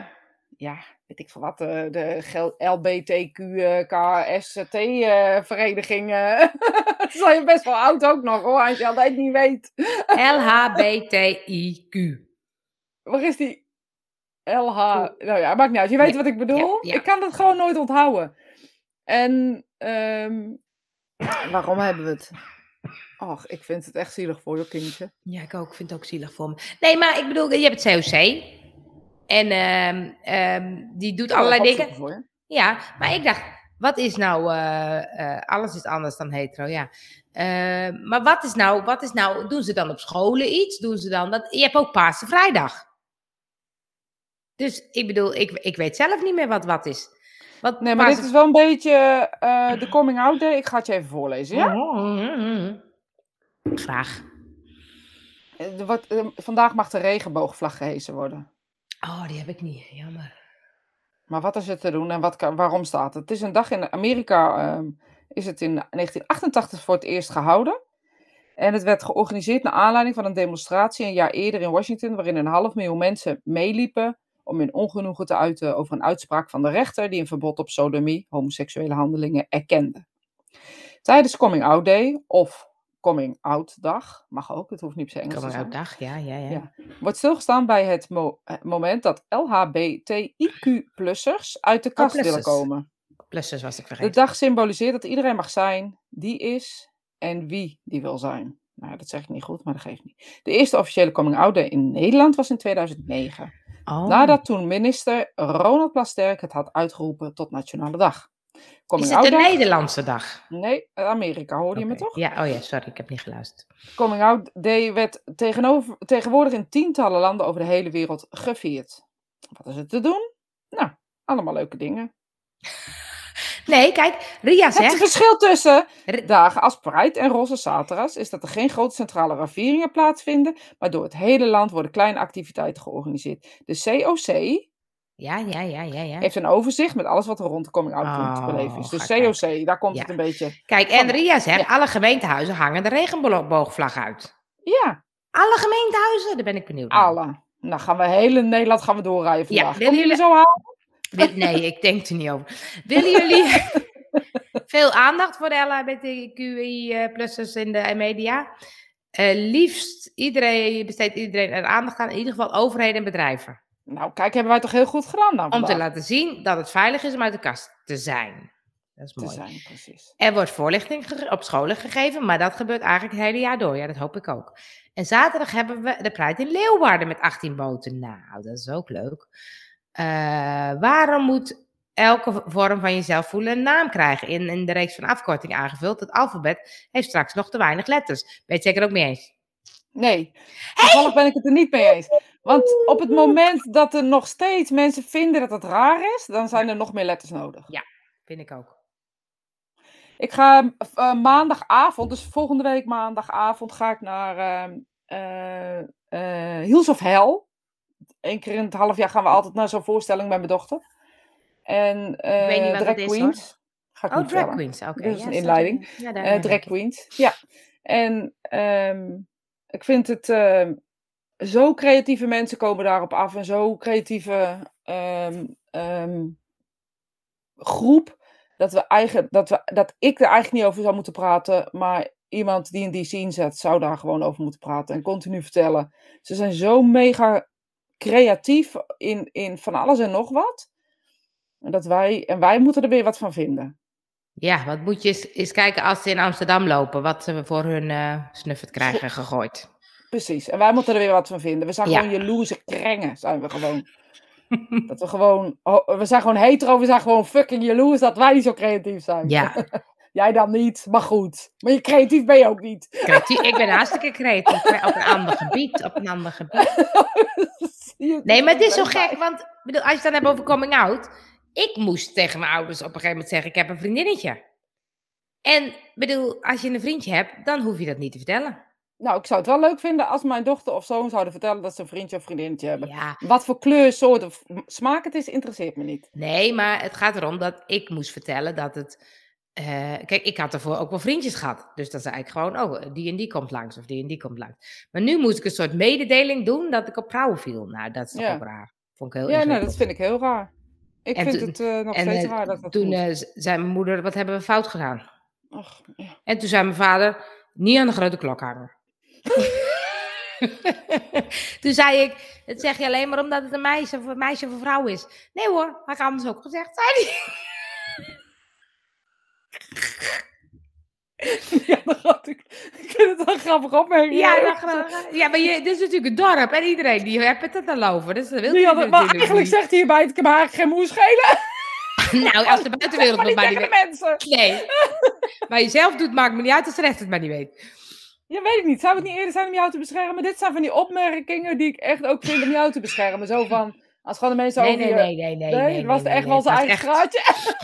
B: ja, weet ik van wat. eh, de eh, LBTQKST-vereniging. dat is al je best wel oud ook nog hoor, als je altijd niet weet.
A: LHBTIQ.
B: Waar is die LH? Nou ja, maakt niet uit. Je weet
A: Ja,
B: wat ik bedoel.
A: ja.
B: Ik kan dat gewoon nooit onthouden. En ehm, waarom hebben we het? Och, ik vind het echt zielig voor je kindje.
A: Ja, ik ook. Ik vind het ook zielig voor me. Nee, maar ik bedoel, je hebt het COC. En ehm, ehm, die doet allerlei
B: Ik ga
A: dingen.
B: het opzoeken voor je.
A: Ja, maar ik dacht, wat is nou, eh, eh, alles is anders dan hetero, ja. Eh, maar wat is, nou, wat is nou, doen ze dan op scholen iets? Doen ze dan, dat, je hebt ook Paarse Vrijdag. Dus ik bedoel, ik, ik weet zelf niet meer wat wat is. Wat
B: Nee, maar dit is wel een beetje eh, de coming out day. Ik ga het je even voorlezen, ja?
A: Graag.
B: Eh, Wat, eh, vandaag mag de regenboogvlag gehezen worden.
A: Oh, die heb ik niet, jammer.
B: Maar wat is er te doen en wat kan, waarom staat het? Het is een dag in Amerika, ehm, is het in 1988 voor het eerst gehouden. En het werd georganiseerd naar aanleiding van een demonstratie een jaar eerder in Washington, waarin een half miljoen mensen meeliepen om hun ongenoegen te uiten over een uitspraak van de rechter die een verbod op sodomie, homoseksuele handelingen, erkende. Tijdens Coming Out Day of Coming Out Dag, mag ook, het hoeft niet per se Engels te
A: Coming out
B: zijn
A: dag, ja, ja, ja.
B: Ja. wordt stilgestaan bij het mo- eh, moment dat LHBTIQ-plussers uit de kast willen
A: plussers.
B: komen.
A: Plussers was ik
B: De
A: vergeten.
B: dag symboliseert dat iedereen mag zijn die is en wie die wil zijn. Nou, ja, dat zeg ik niet goed, maar dat geeft niet. De eerste officiële coming-out day in Nederland was in 2009.
A: Oh,
B: Nadat toen minister Ronald Plasterk het had uitgeroepen tot Nationale Dag.
A: is
B: Coming
A: het
B: out
A: de
B: day?
A: Nederlandse dag?
B: Nee, Amerika, hoorde je me
A: Oké.
B: toch?
A: Ja, oh ja, sorry, ik heb niet geluisterd.
B: Coming Out Day werd tegenover, tegenwoordig in tientallen landen over de hele wereld gevierd. Wat is er te doen? Nou, allemaal leuke dingen.
A: Nee, kijk, Ria
B: Het
A: zegt...
B: verschil tussen
A: Ri-
B: dagen als Pride en Roze Saterdags is dat er geen grote centrale raveringen plaatsvinden, maar door het hele land worden kleine activiteiten georganiseerd. De COC
A: Ja, ja, ja, ja, ja.
B: heeft een overzicht met alles wat er rond de Coming Out te
A: Oh,
B: beleven is. De
A: ga
B: COC, daar komt
A: Ja.
B: het een beetje.
A: Kijk, en
B: Van-
A: Ria zegt, alle gemeentehuizen hangen de regenboogvlag uit.
B: Ja,
A: Alle gemeentehuizen? Daar ben ik benieuwd naar.
B: alle. Nou gaan we heel Nederland gaan we doorrijden
A: Ja,
B: vandaag.
A: willen
B: Kom jullie
A: jullie-
B: zo aan?
A: Wil- Nee, ik denk er niet over. Willen jullie veel aandacht voor de LHBTQI-plussers eh, in de media? Eh, liefst iedereen, besteedt iedereen er aandacht aan, in ieder geval overheden en bedrijven.
B: Nou, kijk, hebben wij toch heel goed gedaan dan
A: Om te
B: vandaag?
A: laten zien dat het veilig is om uit de kast te zijn. Dat is
B: te
A: mooi.
B: zijn, precies.
A: Er wordt voorlichting gege- op scholen gegeven, maar dat gebeurt eigenlijk het hele jaar door. Ja, dat hoop ik ook. En zaterdag hebben we de Pride in Leeuwarden met 18 boten. Nou, dat is ook leuk. Eh, waarom moet elke v- vorm van jezelf voelen een naam krijgen? In, in de reeks van afkorting aangevuld. Het alfabet heeft straks nog te weinig letters. Ben je het zeker ook mee eens?
B: Nee, toevallig ben ik het er niet mee eens. Want op het moment dat er nog steeds mensen vinden dat het raar is, dan zijn er nog meer letters nodig.
A: Vind ik ook.
B: Ik ga eh, maandagavond, dus volgende week maandagavond, ga ik naar ehm eh, eh, Heels of Hell. Eén keer in het half jaar gaan we altijd naar zo'n voorstelling met mijn dochter. En eh
A: weet niet wat
B: Drag
A: dat is, hoor.
B: Queens. Ga ik
A: Oh,
B: niet
A: drag
B: vertellen.
A: queens. Oké.
B: Dit is een
A: sorry.
B: inleiding.
A: Ja, daar
B: Eh,
A: ben
B: drag
A: ik.
B: Queens. Ja. En ehm, ik vind het. ehm, zo creatieve mensen komen daarop af en zo creatieve ehm, ehm, groep. Dat, we eigen, dat, we, dat ik er eigenlijk niet over zou moeten praten. Maar iemand die in die scene zet, zou daar gewoon over moeten praten. En continu vertellen. Ze zijn zo mega creatief in, in van alles en nog wat. En, dat wij, en wij moeten er weer wat van vinden.
A: Ja, wat moet je eens, eens kijken als ze in Amsterdam lopen, wat ze voor hun eh snuffert krijgen gegooid.
B: Precies. En wij moeten er weer wat van vinden. We zijn
A: Ja.
B: gewoon jaloerse krengen, zijn we gewoon. dat we gewoon... oh, we zijn gewoon hetero, we zijn gewoon fucking jaloers dat wij niet zo creatief zijn.
A: Ja,
B: Jij dan niet, maar goed. Maar je creatief ben je ook niet.
A: creatief. ik ben hartstikke creatief, maar op een ander gebied, op een ander gebied.
B: Je-
A: Nee, maar het is zo gek, want ik bedoel, als je het dan hebt over coming out, ik moest tegen mijn ouders op een gegeven moment zeggen, ik heb een vriendinnetje. En ik bedoel, als je een vriendje hebt, dan hoef je dat niet te vertellen.
B: Nou, ik zou het wel leuk vinden als mijn dochter of zoon zouden vertellen dat ze een vriendje of vriendinnetje hebben.
A: Ja,
B: Wat voor kleur, soort of smaak het is, interesseert me niet.
A: nee, maar het gaat erom dat ik moest vertellen dat het eh, kijk, ik had daarvoor ook wel vriendjes gehad. Dus dan zei ik gewoon, oh, die en die komt langs of die en die komt langs. Maar nu moest ik een soort mededeling doen dat ik op vrouwen viel. Nou, dat is toch
B: Ja.
A: ook raar. Vond ik heel
B: Ja, nou,
A: ingewikkeld.
B: dat vind ik heel raar. Ik
A: En
B: vind
A: toen-
B: het eh, nog
A: en,
B: steeds
A: eh,
B: raar dat dat
A: Toen
B: moet.
A: eh, z- zei mijn moeder, wat hebben we fout gedaan?
B: Ach, ja.
A: En toen zei mijn vader, niet aan de grote klok hangen. toen zei ik, dat zeg je alleen maar omdat het een meisje of een meisje of een vrouw is. Nee hoor, had ik anders ook gezegd, zei hij.
B: Ja, dan had ik, ik vind het wel een grappige opmerking.
A: Ja,
B: dat
A: dat gewoon- ja, maar je, dit is natuurlijk een dorp en iedereen die hebt het er dan over. Dus dat wil
B: Die
A: je
B: hadden, maar
A: natuurlijk
B: eigenlijk
A: niet.
B: zegt hij hierbij, het kan me eigenlijk geen moer schelen.
A: Nou, als de
B: Zeg
A: buitenwereld
B: maar
A: nog
B: niet
A: maar niet
B: tegen
A: weet.
B: de mensen.
A: Nee. Maar jezelf doet, maakt me niet uit als de rechter het maar niet weet.
B: Ja, weet ik niet. Zou het niet eerder zijn om jou te beschermen? Maar dit zijn van die opmerkingen die ik echt ook vind om jou te beschermen. Zo van, als gewoon de mensen
A: Nee,
B: over
A: nee,
B: je...
A: nee, nee, nee.
B: Nee, het was
A: nee,
B: echt
A: nee,
B: wel
A: het
B: zijn
A: was
B: eigen
A: echt-
B: graadje.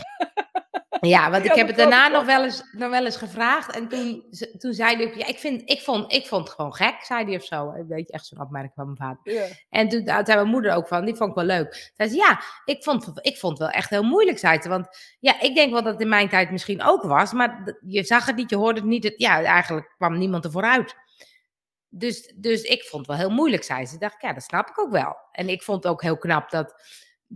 A: Ja, want ik
B: Ja,
A: heb het
B: dat
A: daarna
B: klopt,
A: nog wel, eens, nog wel eens gevraagd. En toen, ze- toen zei hij, ook, ja, ik, vind, ik, vond, ik vond het gewoon gek, zei hij of zo. Ik Weet je, echt zo'n opmerking van mijn vader.
B: Ja.
A: En toen daar zei mijn moeder ook van, die vond ik wel leuk. Zei ze, ja, ik vond, ik vond het wel echt heel moeilijk, zei ze. Want ja, ik denk wel dat het in mijn tijd misschien ook was. Maar d- je zag het niet, je hoorde het niet. Het, ja, eigenlijk kwam niemand er vooruit. Dus, dus ik vond het wel heel moeilijk, zei ze. Ik dacht, ja, dat snap ik ook wel. En ik vond het ook heel knap dat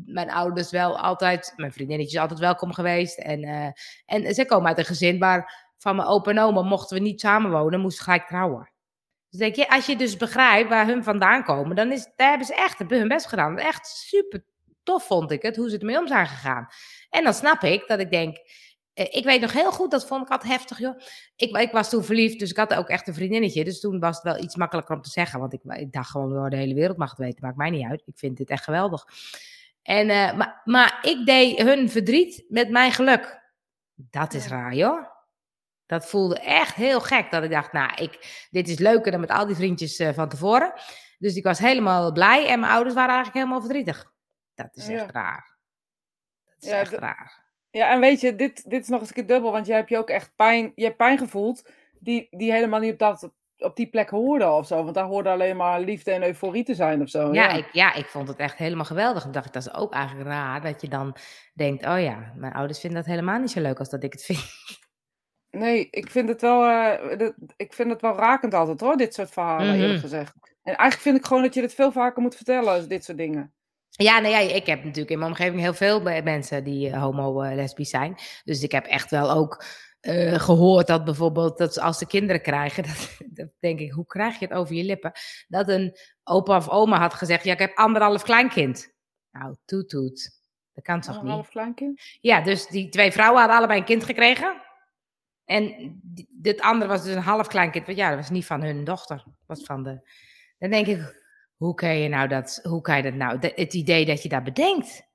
A: mijn ouders wel altijd... Mijn vriendinnetjes is altijd welkom geweest. En, eh, en ze komen uit een gezin waar van mijn opa en oma mochten we niet samenwonen. Moesten gelijk trouwen. Dus denk je, als je dus begrijpt waar hun vandaan komen, dan is, daar hebben ze echt hebben hun best gedaan. Echt super tof vond ik het, hoe ze ermee om zijn gegaan. En dan snap ik dat ik denk, eh, ik weet nog heel goed, dat vond ik altijd heftig joh. Ik, ik was toen verliefd, dus ik had ook echt een vriendinnetje. Dus toen was het wel iets makkelijker om te zeggen, want ik, ik dacht gewoon, door de hele wereld mag het weten, maakt mij niet uit. Ik vind dit echt geweldig. En, eh, maar, maar ik deed hun verdriet met mijn geluk. Dat is
B: Ja.
A: raar joh. Dat voelde echt heel gek. Dat ik dacht, nou, ik, dit is leuker dan met al die vriendjes eh, van tevoren. Dus ik was helemaal blij en mijn ouders waren eigenlijk helemaal verdrietig. Dat is echt
B: Ja.
A: raar. Dat is
B: Ja,
A: echt
B: dat-
A: raar.
B: Ja, en weet je, dit, dit is nog eens een keer dubbel, want jij hebt je ook echt pijn, je hebt pijn gevoeld die, die helemaal niet op, dat, op die plek hoorde of zo. Want daar hoorde alleen maar liefde en euforie te zijn of zo.
A: Ja ik, ja, ik vond het echt helemaal geweldig. Ik dacht, dat is ook eigenlijk raar dat je dan denkt, oh ja, mijn ouders vinden dat helemaal niet zo leuk als dat ik het vind.
B: Nee, ik vind het wel, eh, dat- ik vind het wel rakend altijd hoor, dit soort verhalen
A: Mhm.
B: eerlijk gezegd. En eigenlijk vind ik gewoon dat je dit veel vaker moet vertellen, dit soort dingen.
A: Ja, nou ja, ik heb natuurlijk in mijn omgeving heel veel be- mensen die eh, homo eh, lesbisch zijn. Dus ik heb echt wel ook eh, gehoord dat bijvoorbeeld dat ze als ze kinderen krijgen, dat, dat denk ik, hoe krijg je het over je lippen? Dat een opa of oma had gezegd, ja, ik heb anderhalf kleinkind. Nou, toet toet. Dat kan toch
B: Nog
A: niet?
B: half kleinkind?
A: Ja, dus die twee vrouwen hadden allebei een kind gekregen. En die- dit andere was dus een half kleinkind. Want ja, dat was niet van hun dochter. Dat was van de... Dan denk ik, hoe kan je nou dat... Hoe kan je dat nou... de- het idee dat je dat bedenkt.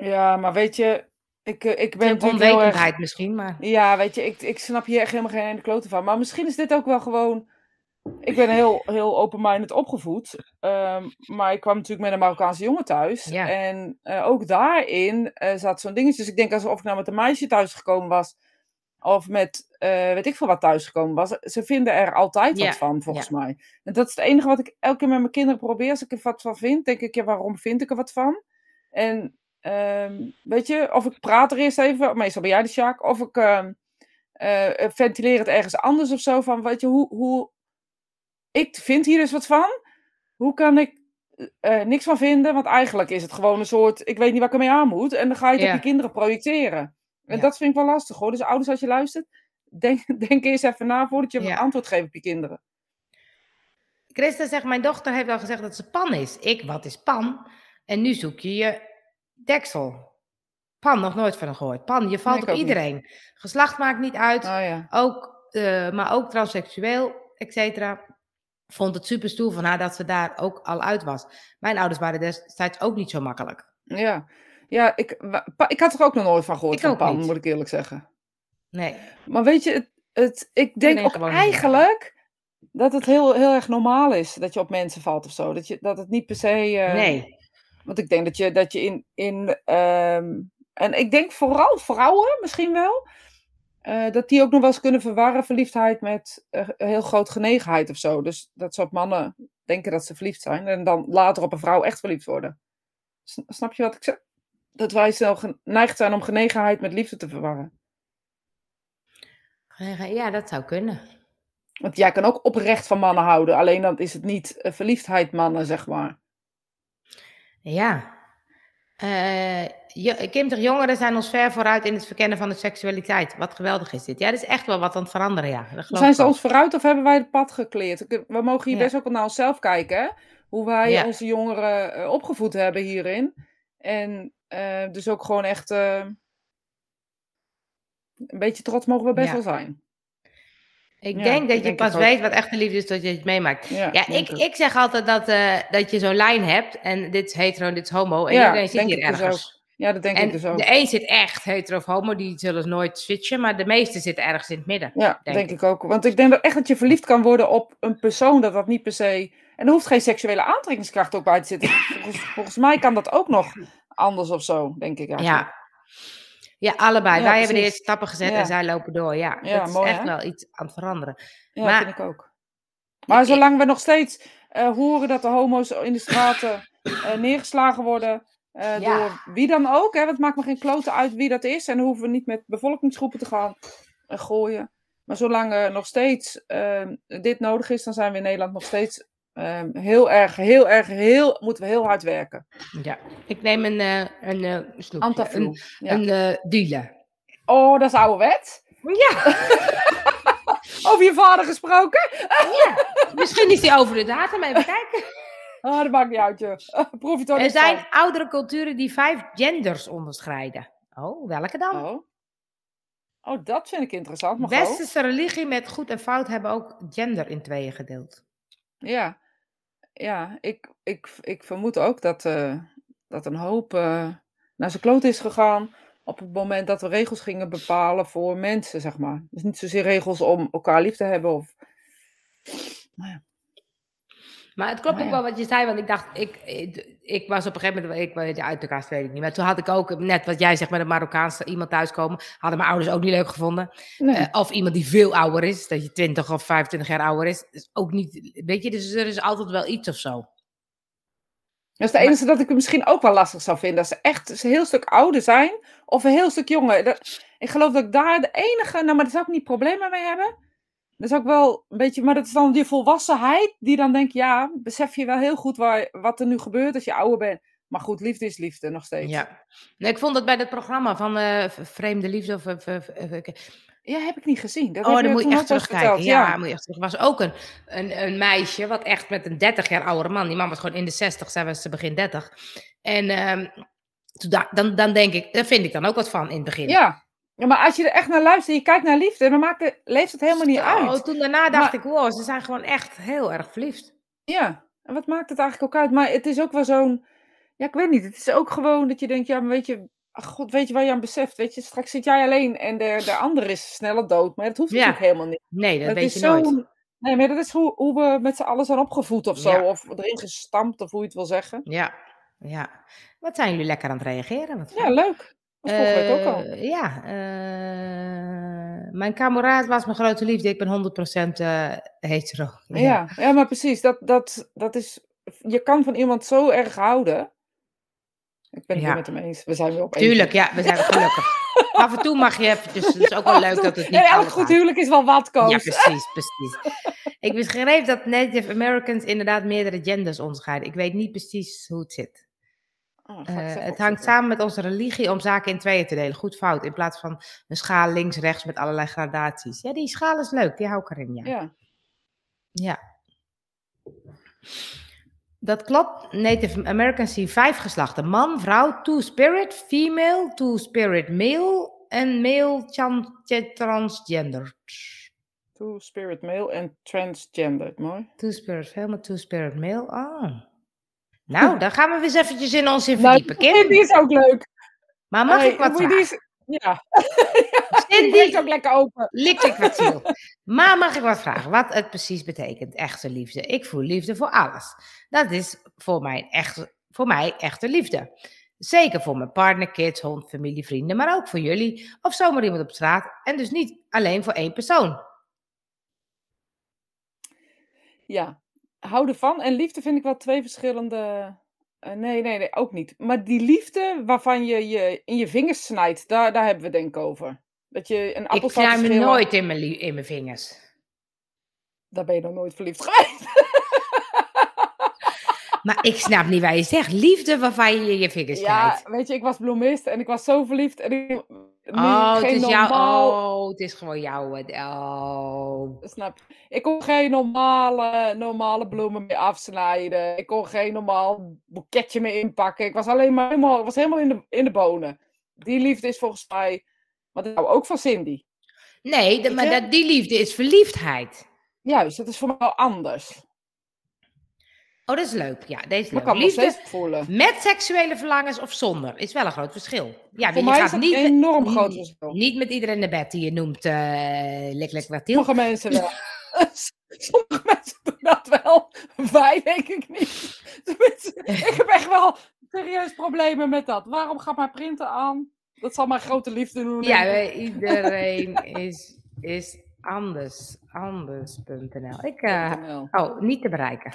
B: Ja, maar weet je, ik, eh, ik ben
A: Een
B: natuurlijk heel erg...
A: onwetendheid misschien, maar...
B: Ja, weet je, ik, ik snap hier echt helemaal geen ene klote van. Maar misschien is dit ook wel gewoon... Ik ben heel, heel open-minded opgevoed. ehm, maar ik kwam natuurlijk met een Marokkaanse jongen thuis.
A: Ja.
B: En eh, ook daarin eh, zat zo'n dingetje. Dus ik denk alsof ik nou met een meisje thuis gekomen was. Of met, eh, weet ik veel wat thuis gekomen was. Ze vinden er altijd
A: Ja,
B: wat van, volgens mij. En dat is het enige wat ik elke keer met mijn kinderen probeer. Als ik er wat van vind, denk ik, ja, waarom vind ik er wat van? En Ehm, weet je, of ik praat er eerst even, meestal ben jij de Sjaak, of ik ehm, eh, eh, ventileer het ergens anders of zo. Van, weet je, hoe, hoe. Ik vind hier dus wat van. Hoe kan ik eh, eh, niks van vinden? Want eigenlijk is het gewoon een soort. Ik weet niet waar ik ermee aan moet. En dan ga je het
A: Ja.
B: op je kinderen projecteren. En
A: Ja.
B: dat vind ik wel lastig hoor. Dus ouders, als je luistert, denk, denk eerst even na voordat je
A: Ja.
B: een antwoord geeft op je kinderen.
A: Christa zegt, mijn dochter heeft al gezegd dat ze pan is. Ik, wat is pan? En nu zoek je je deksel. Pan, nog nooit van gehoord. Pan, je valt
B: ik
A: op
B: ook niet.
A: iedereen. Geslacht maakt niet uit.
B: Oh ja.
A: ook, eh, maar ook transseksueel, et cetera. Vond het super stoer van haar dat ze daar ook al uit was. Mijn ouders waren destijds ook niet zo makkelijk.
B: Ja, ja ik, wa- pa- ik had er ook nog nooit van gehoord
A: Ik
B: van
A: ook
B: Pan,
A: niet.
B: moet ik eerlijk zeggen.
A: Nee.
B: Maar weet je, het, het, ik denk
A: denk
B: ook
A: gewoon niet.
B: eigenlijk dat het heel, heel erg normaal is dat je op mensen valt of zo. Dat, je, dat het niet per se. eh,
A: nee.
B: Want ik denk dat je, dat je in. in ehm, en ik denk vooral vrouwen misschien wel. eh, dat die ook nog wel eens kunnen verwarren verliefdheid met eh, een heel groot genegenheid of zo. Dus dat ze op mannen denken dat ze verliefd zijn. En dan later op een vrouw echt verliefd worden. Sn- snap je wat ik zeg? Dat wij snel geneigd zijn om genegenheid met liefde te verwarren.
A: Ja, dat zou kunnen.
B: Want jij kan ook oprecht van mannen houden, alleen dan is het niet eh, verliefdheid mannen, zeg maar.
A: Ja. Eh, jo- Kim zegt, jongeren zijn ons ver vooruit in het verkennen van de seksualiteit. Wat geweldig is dit. Ja, dat is echt wel wat aan het veranderen, ja. Dat geloof
B: Zijn
A: ik
B: ze
A: wel.
B: ons vooruit of hebben wij het pad gekleerd? Ik- We mogen hier
A: Ja.
B: best ook naar onszelf kijken, hè? hoe wij
A: Ja.
B: onze jongeren eh, opgevoed hebben hierin. En eh, dus ook gewoon echt eh, een beetje trots mogen we best
A: Ja.
B: wel zijn.
A: Ik
B: Ja,
A: denk dat
B: ik
A: je
B: denk
A: pas
B: het ook.
A: weet wat echte liefde is, dat je het meemaakt.
B: Ja,
A: Ja,
B: denk
A: ik, ik zeg altijd dat, eh, dat je zo'n lijn hebt. En dit is hetero, dit is homo. En
B: Ja,
A: iedereen zit
B: denk
A: hier
B: ik dus
A: ergens.
B: Ja, dat denk
A: en
B: ik dus ook.
A: de een zit echt hetero of homo, die zullen nooit switchen. Maar de meeste zitten ergens in het midden.
B: Ja,
A: denk
B: denk, ik ook. Want ik denk dat echt dat je verliefd kan worden op een persoon dat dat niet per se. En er hoeft geen seksuele aantrekkingskracht ook bij te zitten. Volgens, volgens mij kan dat ook nog anders of zo, denk ik. Eigenlijk.
A: Ja. Ja, allebei.
B: Ja,
A: Wij hebben de
B: precies.
A: eerste stappen gezet
B: Ja.
A: en zij lopen door. Ja,
B: Ja,
A: dat is
B: mooi,
A: echt
B: hè?
A: wel iets aan het veranderen.
B: Ja,
A: maar-
B: vind ik ook. Maar zolang we nog steeds eh, horen dat de homo's in de straten eh, neergeslagen worden. eh,
A: Ja.
B: Door wie dan ook. Hè, want het maakt me geen klote uit wie dat is. En dan hoeven we niet met bevolkingsgroepen te gaan eh, gooien. Maar zolang er nog steeds eh, dit nodig is, dan zijn we in Nederland nog steeds eh, heel erg, heel erg, heel, moeten we heel hard werken.
A: Ja. Ik neem een, eh een eh snoepje.
B: Antavloe.
A: Een,
B: Ja.
A: een eh dule.
B: Oh, dat is ouderwet.
A: Ja,
B: Over je vader gesproken?
A: misschien is die over de datum. Even kijken.
B: Oh, dat maakt niet uit, joh. Proef je het ook
A: Er
B: niet
A: zijn oudere culturen die vijf genders onderscheiden. Oh, welke dan?
B: van. Oh. oh, dat vind ik interessant. Maar goed.
A: Westerse religie met goed en fout hebben ook gender in tweeën gedeeld.
B: Ja, ja ik, ik, ik vermoed ook dat, eh, dat een hoop eh, naar zijn kloot is gegaan op het moment dat we regels gingen bepalen voor mensen, zeg maar. Dus niet zozeer regels om elkaar lief te hebben of...
A: Maar het klopt
B: Maar
A: ook
B: Oh, ja.
A: wel wat je zei, want ik dacht, ik, ik, ik was op een gegeven moment, ik weet uit elkaar, weet ik niet. Maar toen had ik ook, net wat jij zegt met een Marokkaanse iemand thuiskomen, hadden mijn ouders ook niet leuk gevonden.
B: Nee,
A: Eh, of iemand die veel ouder is, dat je 20 of 25 jaar ouder is, is ook niet, weet je, dus er is altijd wel iets of zo.
B: dat is de
A: maar-
B: enige dat ik het misschien ook wel lastig zou vinden. Dat ze echt een heel stuk ouder zijn of een heel stuk jonger. Dat, ik geloof dat ik daar de enige... Nou, maar daar zou ik niet problemen mee hebben. Dat is ook wel een beetje... Maar dat is dan die volwassenheid die dan denkt... Ja, besef je wel heel goed waar, wat er nu gebeurt als je ouder bent. Maar goed, liefde is liefde nog steeds.
A: Ja. Nee, ik vond dat bij dat programma van eh, v- Vreemde Liefde of... eh, v- v- v-
B: Ja, heb ik niet gezien. Dat
A: Oh,
B: heb
A: dan moet je
B: toen
A: echt
B: ook wel eens
A: terugkijken.
B: verteld,
A: ja, moet je echt terug. Er was ook een, een, een meisje, wat echt met een 30 jaar oudere man. Die man was gewoon in de 60, zij was te begin 30. En ehm, toen da- dan, dan denk ik, daar vind ik dan ook wat van in het begin.
B: ja. Ja, maar als je er echt naar luistert, je kijkt naar liefde, dan maakt de leeftijd helemaal niet
A: Oh,
B: uit.
A: toen daarna dacht
B: Maar-
A: ik, wow, ze zijn gewoon echt heel erg verliefd.
B: Ja. En wat maakt het eigenlijk ook uit? Maar het is ook wel zo'n. Ja, ik weet niet. Het is ook gewoon dat je denkt, ja, maar weet je. Ach, God, weet je waar je aan beseft? Weet je, straks zit jij alleen en de, de ander is sneller dood. Maar dat hoeft
A: Ja,
B: natuurlijk helemaal niet.
A: Nee, dat
B: Maar het
A: weet
B: is
A: je nooit.
B: zo'n- Nee, maar dat is hoe, hoe we met z'n allen zijn opgevoed of zo.
A: Ja.
B: Of erin gestampt, of hoe je het wil zeggen.
A: Ja, ja. Wat zijn jullie lekker aan het reageren? Wat
B: Ja, leuk. Dat volg ik ook al.
A: Eh, Ja, eh, mijn kameraad was mijn grote liefde. Ik ben 100% eh hetero.
B: Ja, ja, maar precies. Dat, dat, dat is, je kan van iemand zo erg houden. Ik ben het
A: Ja.
B: weer met hem eens. We zijn weer op één
A: Tuurlijk, ja, we zijn gelukkig. Af en toe mag je eventjes, het is ook wel
B: af en
A: leuk
B: toe.
A: dat het
B: Nee,
A: niet
B: elk
A: alle
B: goed
A: gaat.
B: huwelijk is wel wat, Koos.
A: Ja, precies, precies. Ik beschreef dat Native Americans inderdaad meerdere genders onderscheiden. Ik weet niet precies hoe het zit.
B: Oh, ga ik
A: Eh,
B: zelf
A: het
B: opzoeken.
A: hangt samen met onze religie om zaken in tweeën te delen. Goed fout, in plaats van een schaal links, rechts met allerlei gradaties. Ja, die schaal is leuk, die hou ik erin, ja.
B: Ja.
A: Dat klopt. Native Americans zien vijf geslachten. Man, vrouw, two-spirit, female, two-spirit, male en male chan- transgender.
B: Two spirit male en transgender. Mooi.
A: Two-spirit female, two-spirit male. Oh. Nou, daar gaan we eens eventjes in ons in
B: Nou,
A: verdiepen,
B: Die
A: Kim.
B: is ook leuk.
A: Maar mag
B: Hey,
A: ik wat
B: moet je die
A: vragen?
B: eens- Ja, die is
A: Cindy,
B: ook lekker open.
A: lik ik wat ziel. Maar mag ik wat vragen? Wat het precies betekent, echte liefde. Ik voel liefde voor alles. Dat is voor mij, echt, voor mij echte liefde. Zeker voor mijn partner, kids, hond, familie, vrienden, maar ook voor jullie. Of zomaar iemand op straat. En dus niet alleen voor één persoon.
B: Ja. Houden van en liefde vind ik wel twee verschillende. eh, nee, nee, nee, ook niet. Maar die liefde waarvan je je in je vingers snijdt, daar, daar hebben we het denk ik over. Dat je een appel
A: Ik
B: staat te
A: knij me
B: schillen.
A: nooit in mijn, li- in mijn vingers.
B: Daar ben je nog nooit verliefd geweest.
A: Maar ik snap niet waar je zegt. Liefde waarvan je je vingers
B: Ja,
A: knijpt.
B: weet je, ik was bloemist en ik was zo verliefd. En ik, niet-
A: Oh,
B: geen
A: het is jou,
B: normaal.
A: oh, het is gewoon jouw. eh, Oh.
B: Snap je? Ik kon geen normale, normale bloemen meer afsnijden. Ik kon geen normaal boeketje meer inpakken. Ik was alleen maar helemaal, ik was helemaal in, de, in de bonen. Die liefde is volgens mij. Want ik hou ook van Cindy.
A: Nee, dat-
B: Weet
A: maar
B: je?
A: dat, die liefde is verliefdheid.
B: Juist, dat is voor mij wel anders.
A: Oh, dat is leuk. Ja, deze is
B: Maar
A: leuk.
B: ik kan me nog
A: Liefde
B: steeds voelen.
A: met seksuele verlangens of zonder is wel een groot verschil. Ja, want
B: voor
A: je
B: mij is
A: gaat
B: dat
A: niet, Mm.
B: een enorm
A: niet-
B: groot verschil.
A: niet met iedereen naar bed die je noemt eh lek lek Watiel.
B: Sommige mensen wel. Sommige mensen doen dat wel. Wij denk ik niet. Tenminste, ik heb echt wel serieus problemen met dat. Waarom gaat mijn printer aan? Dat zal mijn grote liefde doen.
A: Ja,
B: denk ik.
A: eh, iedereen is, is anders. Anders.nl. Ik, eh,
B: .nl.
A: oh, niet te bereiken.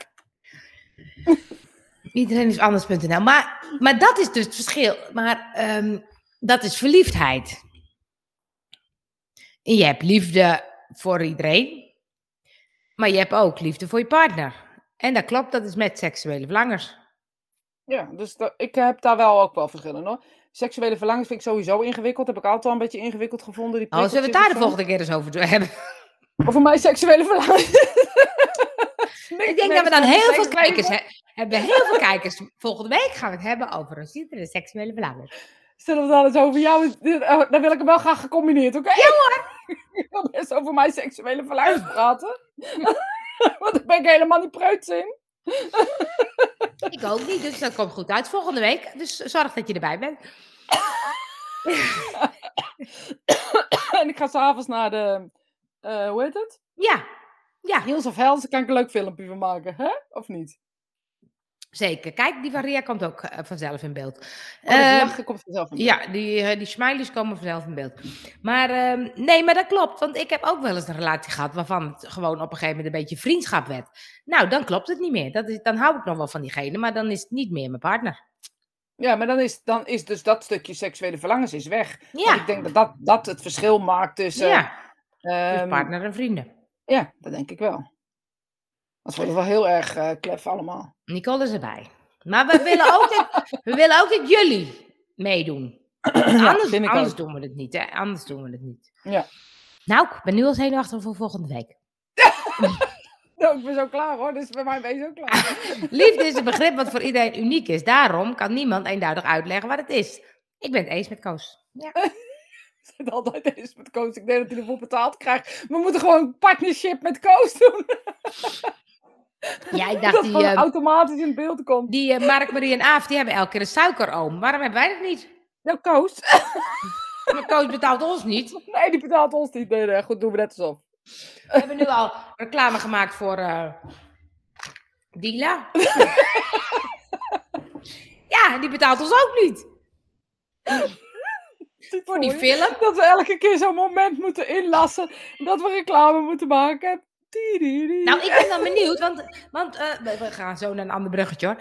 A: Iedereen is anders.nl. Maar, maar dat is dus het verschil. Maar ehm, dat is verliefdheid. En je hebt liefde voor iedereen. Maar je hebt ook liefde voor je partner. En dat klopt, dat is met seksuele verlangers.
B: Ja, dus da- ik heb daar wel ook wel verschillen hoor. Seksuele verlangens vind ik sowieso ingewikkeld. Heb ik altijd al een beetje ingewikkeld gevonden. Die
A: Oh, zullen we het
B: prikkeltjes
A: daar de
B: of zo.
A: volgende keer eens over hebben?
B: Over mijn seksuele verlangens.
A: Ik denk dat we dan heel veel kijkers he- hebben. Heel veel kijkers. Volgende week gaan we het hebben over een ziekte en seksuele belangen.
B: Zullen we dan eens over jou... dit- oh, Dan wil ik hem wel graag gecombineerd, oké? Ja hoor! Eh. Ik wil best over mijn seksuele verlangens praten. Want daar ben ik helemaal niet preuts in.
A: Ik ook niet, dus dat komt goed uit. Volgende week, dus zorg dat je erbij bent.
B: en ik ga s'avonds naar de... eh, hoe heet het?
A: Ja, ja
B: Heels of Hells. Daar kan ik een leuk filmpje van maken, hè? Of niet?
A: zeker. Kijk, die van Ria komt ook eh, vanzelf in beeld.
B: Oh, dat
A: Ehm,
B: lachen komt vanzelf in
A: ja, die, eh, die smileys komen vanzelf in beeld. Maar ehm, nee, maar dat klopt. Want ik heb ook wel eens een relatie gehad waarvan het gewoon op een gegeven moment een beetje vriendschap werd. Nou, dan klopt het niet meer. Dat is, dan hou ik nog wel van diegene, maar dan is het niet meer mijn partner.
B: Ja, maar dan is, dan is dus dat stukje seksuele verlangens is weg.
A: Ja,
B: Want ik denk dat, dat dat het verschil maakt tussen...
A: ja. Dus
B: ehm,
A: partner en vrienden.
B: Ja, dat denk ik wel. Dat wordt wel heel erg eh klef allemaal.
A: Nicole is erbij. Maar we willen ook dat, we willen ook dat jullie meedoen. Want anders
B: vind ik
A: anders
B: ook.
A: doen we het niet, hè? Anders doen we het niet.
B: Ja.
A: Nou, ik ben nu al zenuwachtig voor volgende week.
B: Nou, ik ben zo klaar hoor, dus bij mij ben je zo klaar.
A: Liefde is een begrip wat voor iedereen uniek is. Daarom kan niemand eenduidig uitleggen wat het is. Ik ben het eens met Koos. Ja.
B: Het altijd eens met Koos. Ik denk dat hij ervoor betaald krijgt. We moeten gewoon een partnership met Koos doen.
A: Ja, ik
B: dat
A: dacht die,
B: gewoon
A: eh,
B: automatisch in beeld komt.
A: die eh, Mark, Marie en Aaf, die hebben elke keer een suikeroom. Waarom hebben wij dat niet?
B: Nou, Koos.
A: Maar Koos betaalt ons niet.
B: Nee, die betaalt ons niet. Nee, nee, goed, doen we net alsof.
A: We hebben nu al reclame gemaakt voor eh Dila. ja, die betaalt ons ook niet.
B: Ziet
A: Voor die
B: je?
A: film.
B: Dat we elke keer zo'n moment moeten inlassen. Dat we reclame moeten maken. Tididi.
A: Nou, ik ben dan benieuwd, want, want eh, we, we gaan zo naar een ander bruggetje hoor.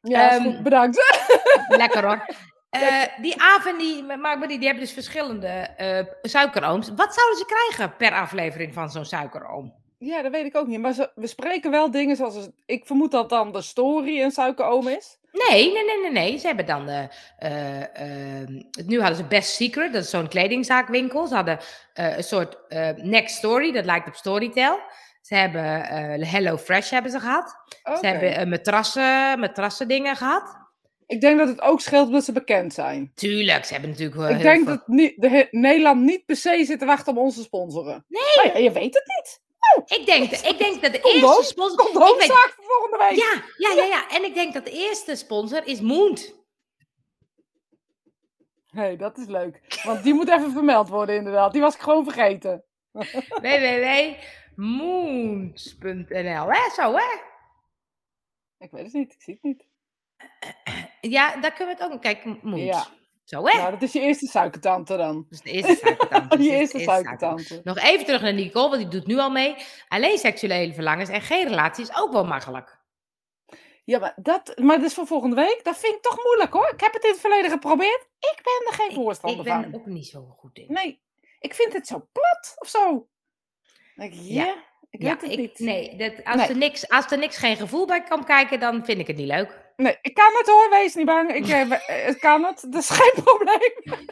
B: ja, is
A: ehm,
B: goed, bedankt.
A: Lekker hoor. Eh, die Aaf en die Mark Marie, die hebben dus verschillende eh, suikerooms. Wat zouden ze krijgen per aflevering van zo'n suikeroom?
B: Ja, dat weet ik ook niet. Maar ze- we spreken wel dingen zoals... Ik vermoed dat dan de story een suikeroom is.
A: Nee, nee, nee, nee, nee. Ze hebben dan. eh, eh, eh, nu hadden ze Best Secret, dat is zo'n kledingzaakwinkel. Ze hadden eh, een soort eh, Next Story, dat lijkt op Storytel. Ze hebben eh, Hello Fresh hebben ze gehad.
B: Oké.
A: Ze hebben eh, matrassen, matrassen dingen gehad.
B: Ik denk dat het ook scheelt dat ze bekend zijn.
A: Tuurlijk, ze hebben natuurlijk. wel
B: ik
A: eh, heel
B: denk
A: veel-
B: dat niet, de, he- Nederland niet per se zit te wachten op onze sponsoren. Nee! je weet het niet.
A: Ik denk, ik denk dat de
B: Condoom?
A: eerste sponsor.
B: Komt er
A: ik
B: ook
A: weet-
B: zaak voor volgende week.
A: Ja, ja, ja, ja. En ik denk dat de eerste sponsor is Moond.
B: hey, dat is leuk. Want die moet even vermeld worden inderdaad. Die was ik gewoon vergeten.
A: www.moond.nl. Hè, zo hè?
B: Ik weet het niet. Ik zie het niet.
A: Ja, daar kunnen we het ook nog kijken. Moond.
B: Ja.
A: Zo hè?
B: Nou, dat is je eerste suikertante dan.
A: Dus de eerste suikertand.
B: Die
A: Dus
B: eerste
A: de suikertand.
B: suikertante.
A: Nog even terug naar Nicole, want die doet nu al mee. Alleen seksuele verlangens en geen relatie is ook wel makkelijk.
B: Ja, maar dat, maar dat is voor volgende week. Dat vind ik toch moeilijk hoor. Ik heb het in het verleden geprobeerd. Ik ben er geen voorstander
A: Ik ben
B: van.
A: er ook niet zo goed in.
B: Nee. ik vind het zo plat of zo. Dan denk ik,
A: Ja.
B: ja, ik
A: ja,
B: weet het
A: ik-
B: niet.
A: Nee, dat, als,
B: Nee.
A: Er niks, als er niks geen gevoel bij kan kijken, dan vind ik het niet leuk.
B: Nee, ik kan het hoor, wees niet bang. Ik eh, we- eh, kan het, dat is geen probleem.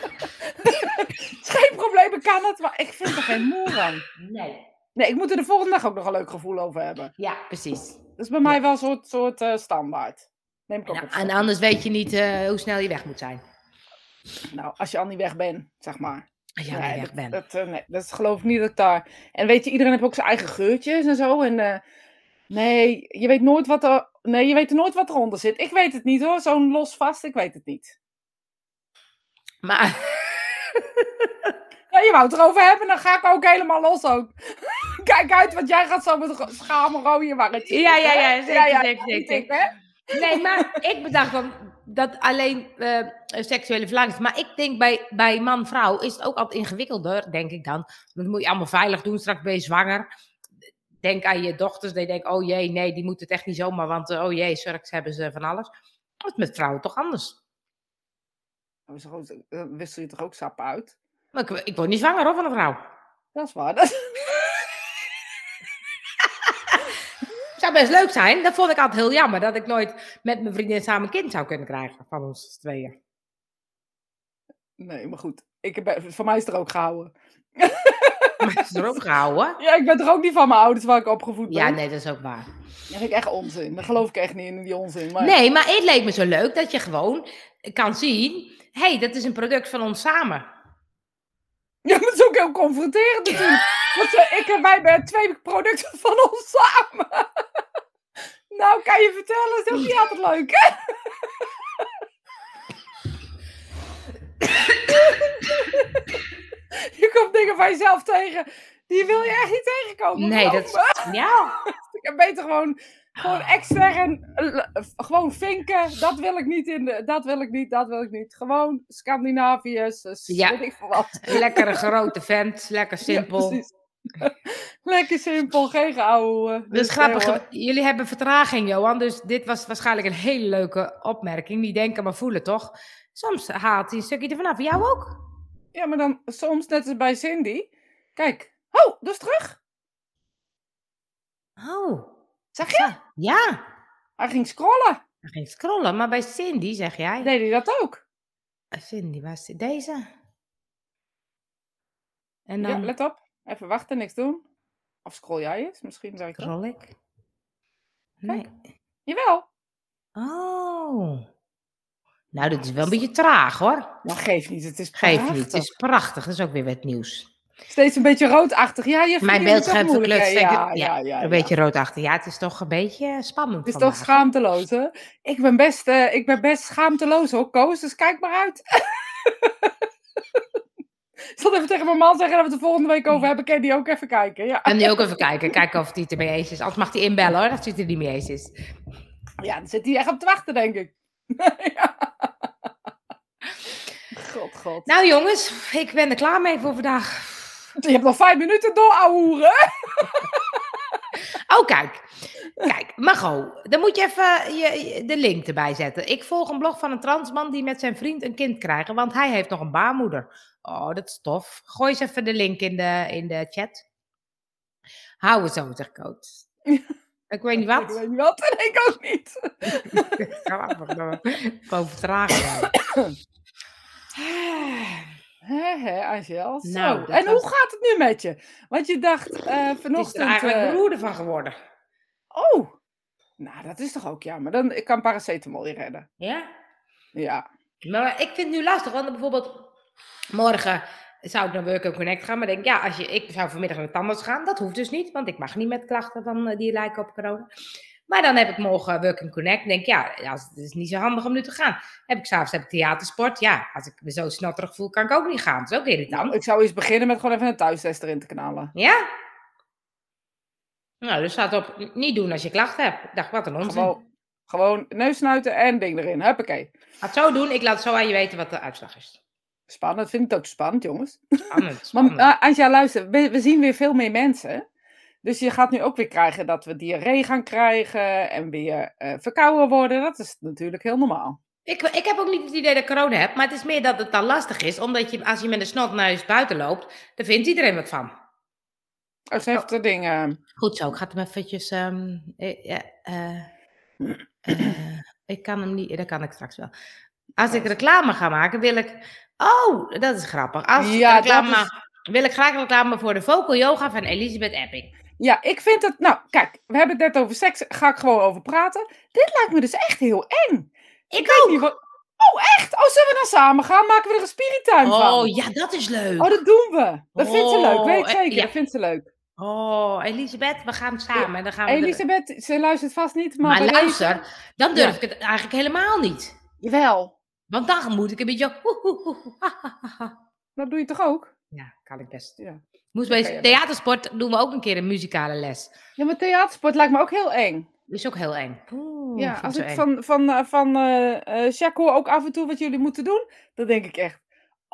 B: Het is geen probleem, ik kan het, maar ik vind er geen moer aan.
A: Nee.
B: Nee, ik moet er de volgende dag ook nog een leuk gevoel over hebben.
A: Ja, precies.
B: Dat is bij mij wel een soort, soort eh, standaard. Neem ik ook
A: En,
B: op.
A: en anders weet je niet eh, hoe snel je weg moet zijn.
B: Nou, als je al niet weg bent, zeg maar.
A: Als je al
B: Nee,
A: niet weg
B: dat,
A: bent.
B: dat, eh, nee, dat geloof ik niet dat ik daar... En weet je, iedereen heeft ook zijn eigen geurtjes en zo. En eh, nee, je weet nooit wat er... Nee, je weet nooit wat eronder zit. Ik weet het niet hoor, zo'n los vast, ik weet het niet.
A: Maar
B: Ja, je wou het erover hebben, dan ga ik ook helemaal los ook. Kijk uit, want jij gaat zo met ro- schaamrooie warretjes.
A: Ja, ja, ja,
B: zitten, hè?
A: zeker, zeker,
B: niet
A: zeker.
B: ik, hè?
A: Nee, maar ik bedacht dan dat alleen eh, seksuele verlangens. Maar ik denk bij, bij man-vrouw is het ook altijd ingewikkelder, denk ik dan. Want Dan moet je allemaal veilig doen, straks ben je zwanger. Denk aan je dochters, die denken, oh jee, nee, die moeten het echt niet zomaar, want eh, oh jee, straks hebben ze van alles. Dat is met vrouwen toch anders.
B: Oh, zo goed, Dan wissel je toch ook sap uit?
A: Maar ik, ik word niet zwanger hoor, van een vrouw.
B: Dat is waar. Dat...
A: Zou best leuk zijn. Dat vond ik altijd heel jammer, dat ik nooit met mijn vriendin samen een kind zou kunnen krijgen, van ons tweeën.
B: Nee, maar goed. Ik heb, eh, voor mij is er ook gehouden.
A: Maar het is erop gehouden.
B: Ja, ik ben toch ook niet van mijn ouders waar ik opgevoed ben?
A: Ja, nee, dat is ook waar.
B: Dat vind ik echt onzin. Daar geloof ik echt niet in, in die onzin. Maar...
A: Nee, maar het leek me zo leuk dat je gewoon kan zien... hé, hey, dat is een product van ons samen.
B: Ja, maar dat is ook heel confronterend natuurlijk. Want eh, ik en wij hebben twee producten van ons samen. nou, kan je vertellen, is ook niet altijd leuk, hè? je komt dingen van jezelf tegen, die wil je echt niet tegenkomen.
A: Nee,
B: geloof
A: dat
B: me.
A: is... Ja.
B: Ik heb beter gewoon, gewoon extern, eh, l- eh, gewoon vinken. Dat wil ik niet in de, dat wil ik niet, dat wil ik niet. Gewoon Scandinaviërs, eh,
A: Ja.
B: weet ik veel wat.
A: Lekker een grote vent, lekker
B: Ja,
A: simpel.
B: precies. Lekker simpel, geen geouwe. eh,
A: dus grappig, jullie hebben vertraging, Johan. Dus dit was waarschijnlijk een hele leuke opmerking. Niet denken, maar voelen, toch? Soms haalt hij een stukje ervan af. Jou ook?
B: Ja, maar dan soms, net als bij Cindy. Kijk, oh, dat is terug.
A: Oh,
B: Zeg je?
A: ja.
B: Hij ging scrollen.
A: Hij ging scrollen, maar bij Cindy zeg jij.
B: Deed hij dat ook?
A: Cindy, waar is die- deze? En
B: Ja,
A: dan
B: let op. Even wachten, niks doen. Of scroll jij eens, misschien zou ik dat.
A: scroll ik. Nee.
B: Jawel.
A: Oh. Nou, dit is wel een beetje traag hoor.
B: Maar geeft niet, het is
A: Geef
B: prachtig.
A: niet, het is prachtig. Dat is ook weer wat nieuws.
B: Steeds een beetje roodachtig. Ja, je vindt
A: Mijn
B: jullie toch
A: beeldscherm
B: moeilijk,
A: verkleurt
B: hè?
A: steeds-
B: Ja, ja, ja.
A: Een
B: ja.
A: beetje roodachtig. Ja, het is toch een beetje spannend.
B: Het is toch
A: vandaag.
B: schaamteloos, hè? Ik ben best, eh, ik ben best schaamteloos, hoor, Koos. Dus kijk maar uit. ik zal even tegen mijn man zeggen dat we het er volgende week over hebben. Kan die ook even kijken? Ja,
A: En nu ook even kijken, kijken of hij het ermee eens is. Anders mag hij inbellen hoor, als hij het er niet mee eens is.
B: ja dan zit hij echt op te wachten, denk ik. ja. God, god.
A: Nou jongens, ik ben er klaar mee voor vandaag.
B: Nou, je hebt nog vijf minuten door, ouwe
A: Oh, kijk. Kijk, Margot, dan moet je even je, je- de link erbij zetten. Ik volg een blog van een transman die met zijn vriend een kind krijgt, want hij heeft nog een baarmoeder. Oh, dat is tof. Gooi eens even de link in de, in de chat. Hou het zo, zegt Coach. Ik weet niet
B: Ik
A: wat.
B: weet niet wat, en ik ook niet.
A: Gewoon vertragen.
B: Hé, hé, Angel. Zo.
A: Nou, dat
B: en
A: was-
B: hoe gaat het nu met je? Want je dacht eh
A: Nog is
B: vanochtend...
A: er eigenlijk
B: eh,
A: beroerde van geworden.
B: Oh, nou dat is toch ook jammer. Dan ik kan paracetamol je redden.
A: Ja?
B: Ja.
A: Maar ik vind het nu lastig, want bijvoorbeeld morgen zou ik naar Work and Connect gaan, maar denk ik, ja, als je, ik zou vanmiddag naar de tandarts gaan, dat hoeft dus niet, want ik mag niet met klachten van, eh, die lijken op corona. Maar dan heb ik morgen Work and Connect, denk ik, ja, als, het is niet zo handig om nu te gaan. Heb ik s'avonds heb ik theatersport, ja, als ik me zo snotterig voel, kan ik ook niet gaan, dat is ook irritant.
B: Nou, ik zou eens beginnen met gewoon even een thuistest erin te knallen.
A: Ja? Nou, dus staat op, n- niet doen als je klachten hebt. Ik dacht, wat een onzin.
B: Gewoon, gewoon neus snuiten en ding erin. Huppakee.
A: Ga het zo doen, ik laat zo aan je weten wat de uitslag is.
B: Spannend. Vind ik het ook spannend, jongens.
A: Spannend,
B: Maar
A: spannend.
B: eh, Anja, luister. We, we zien weer veel meer mensen. Dus je gaat nu ook weer krijgen dat we diarree gaan krijgen en weer eh, verkouden worden. Dat is natuurlijk heel normaal.
A: Ik, ik heb ook niet het idee dat ik corona heb, maar het is meer dat het dan lastig is. Omdat je, als je met een snotneus buiten loopt, dan vindt iedereen wat van.
B: Het heeft de dingen.
A: Goed zo, ik ga hem eventjes... ehm, eh, ja, eh, eh, ik kan hem niet, dat kan ik straks wel. Als ik reclame ga maken, wil ik... Oh, dat is grappig. Als ik
B: Ja, dat
A: reclame,
B: is-
A: maak, wil ik graag reclame voor de Vocal Yoga van Elisabeth Epping.
B: Ja, ik vind het. Nou, kijk, we hebben het net over seks. Ga ik gewoon over praten. Dit lijkt me dus echt heel eng.
A: Ik
B: weet niet wat- Oh, echt? Oh, zullen we dan samen gaan? Maken we er een spirituin van?
A: Oh, ja, dat is leuk.
B: Oh, dat doen we. Dat vindt ze leuk, weet
A: Oh,
B: ik
A: eh,
B: zeker.
A: ja.
B: Dat vindt ze leuk.
A: Oh, Elisabeth, we gaan samen. Dan gaan we er-
B: Elisabeth, ze luistert vast niet, maar,
A: Maar
B: bij
A: luister, dan durf ik
B: Ja.
A: het eigenlijk helemaal niet.
B: deze- Jawel.
A: Want dan moet ik een beetje... hoe, hoe, hoe, ha, ha, ha, ha.
B: Dat doe je toch ook?
A: Ja, kan ik best.
B: Ja.
A: Moest
B: Dat
A: bij
B: kan je
A: theatersport doen we ook een keer een muzikale les.
B: Ja, maar theatersport lijkt me ook heel eng.
A: Is ook heel eng. Oeh,
B: ja,
A: vind
B: als
A: zo
B: ik
A: eng.
B: van, van, eh, van eh, eh, Sjaak hoor ook af en toe wat jullie moeten doen, dan denk ik echt...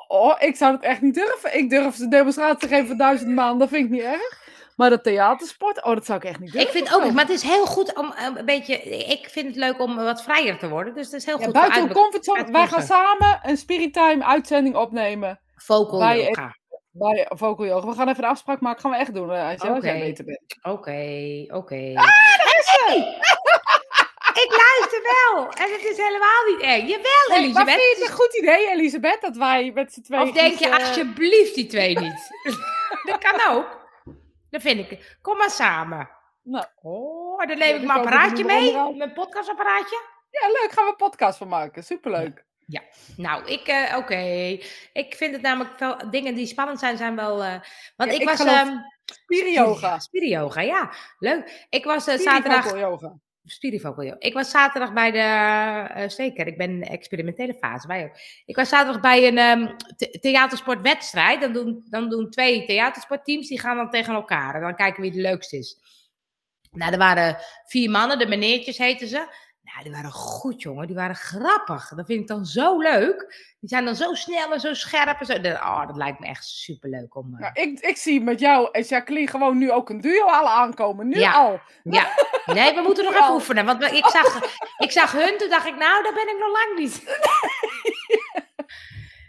B: Oh, ik zou dat echt niet durven. Ik durf de demonstratie te geven van duizend maanden, dat vind ik niet erg. Maar dat theatersport, oh, dat zou ik echt niet durven.
A: Ik vind ook,
B: zo.
A: niet, maar het is heel goed om eh, een beetje... Ik vind het leuk om eh, wat vrijer te worden. Dus het is heel
B: Ja,
A: goed voor
B: buiten de comfortzone. Wij gaan
A: uitdrukken.
B: samen een Spiritime uitzending opnemen
A: Vocal
B: bij-
A: yoga.
B: bij Vocal Yoga. We gaan even een afspraak maken. Gaan we echt doen, eh, Angela, als jij
A: Oké.
B: beter bent.
A: Oké, oké. Ah, Hey! ik luister wel. En het is helemaal niet eng. Jawel,
B: Nee, maar
A: Elisabeth.
B: vind je
A: het
B: het
A: is
B: een goed idee, Elisabeth, dat wij met z'n tweeën...
A: Of denk
B: iets,
A: je,
B: eh,
A: alsjeblieft, die twee niet. dat kan ook. Dat vind ik. Kom maar samen.
B: Nou.
A: Oh, dan
B: Ja,
A: neem ik
B: dus
A: mijn
B: ook
A: apparaatje
B: een
A: mee.
B: onderhoud.
A: Oh, Mijn podcastapparaatje.
B: Ja, leuk. Gaan we een podcast van maken. Superleuk.
A: Nou, ik, eh, oké. Ik vind het namelijk wel, dingen die spannend zijn, zijn wel... eh, want
B: Ja,
A: ik,
B: ik
A: was...
B: geloof-
A: ehm
B: Spirioga.
A: Spirioga, ja. Leuk. Ik was eh, zaterdag...
B: Spiritual yoga.
A: Spiritual, joh. Ik was zaterdag bij de. eh, zeker, ik ben in de experimentele fase. Wij ook. Ik was zaterdag bij een ehm, the- theatersportwedstrijd. Dan doen, dan doen twee theatersportteams. Die gaan dan tegen elkaar. En dan kijken wie de leukste is. Nou, er waren vier mannen. De meneertjes heten ze. Nou, die waren goed, jongen. Die waren grappig. Dat vind ik dan zo leuk. Die zijn dan zo snel en zo scherp. En zo. Dat, oh, dat lijkt me echt superleuk om. eh,
B: Nou, ik, ik zie met jou en Jacqueline gewoon nu ook een duo alle aankomen. Nu
A: Ja.
B: al.
A: Ja, nee, we moeten nog
B: Wel.
A: even oefenen. Want ik zag, ik zag hun, toen dacht ik, nou, daar ben ik nog lang niet.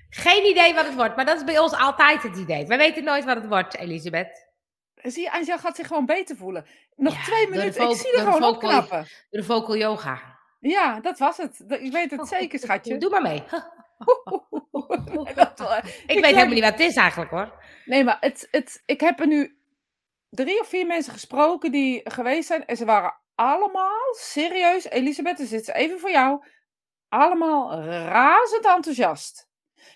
A: Geen idee wat het wordt, maar dat is bij ons altijd het idee. We weten nooit wat het wordt, Elisabeth.
B: Zie je, Angela gaat zich gewoon beter voelen. Nog
A: Ja,
B: twee
A: door de
B: minuten. Ik
A: vogel-
B: zie er
A: door de
B: gewoon
A: vogel-
B: opknappen.
A: Door de vocal yoga.
B: Ja, dat was het. Dat- Ik weet het zeker, schatje.
A: Doe maar mee.
B: Dat, eh,
A: Ik weet
B: Ik
A: helemaal
B: lijk-
A: niet wat het is eigenlijk hoor.
B: Nee, maar het, het, ik heb er nu drie of vier mensen gesproken die geweest zijn. En ze waren allemaal serieus. Elisabeth, dus dit is even voor jou. Allemaal razend enthousiast.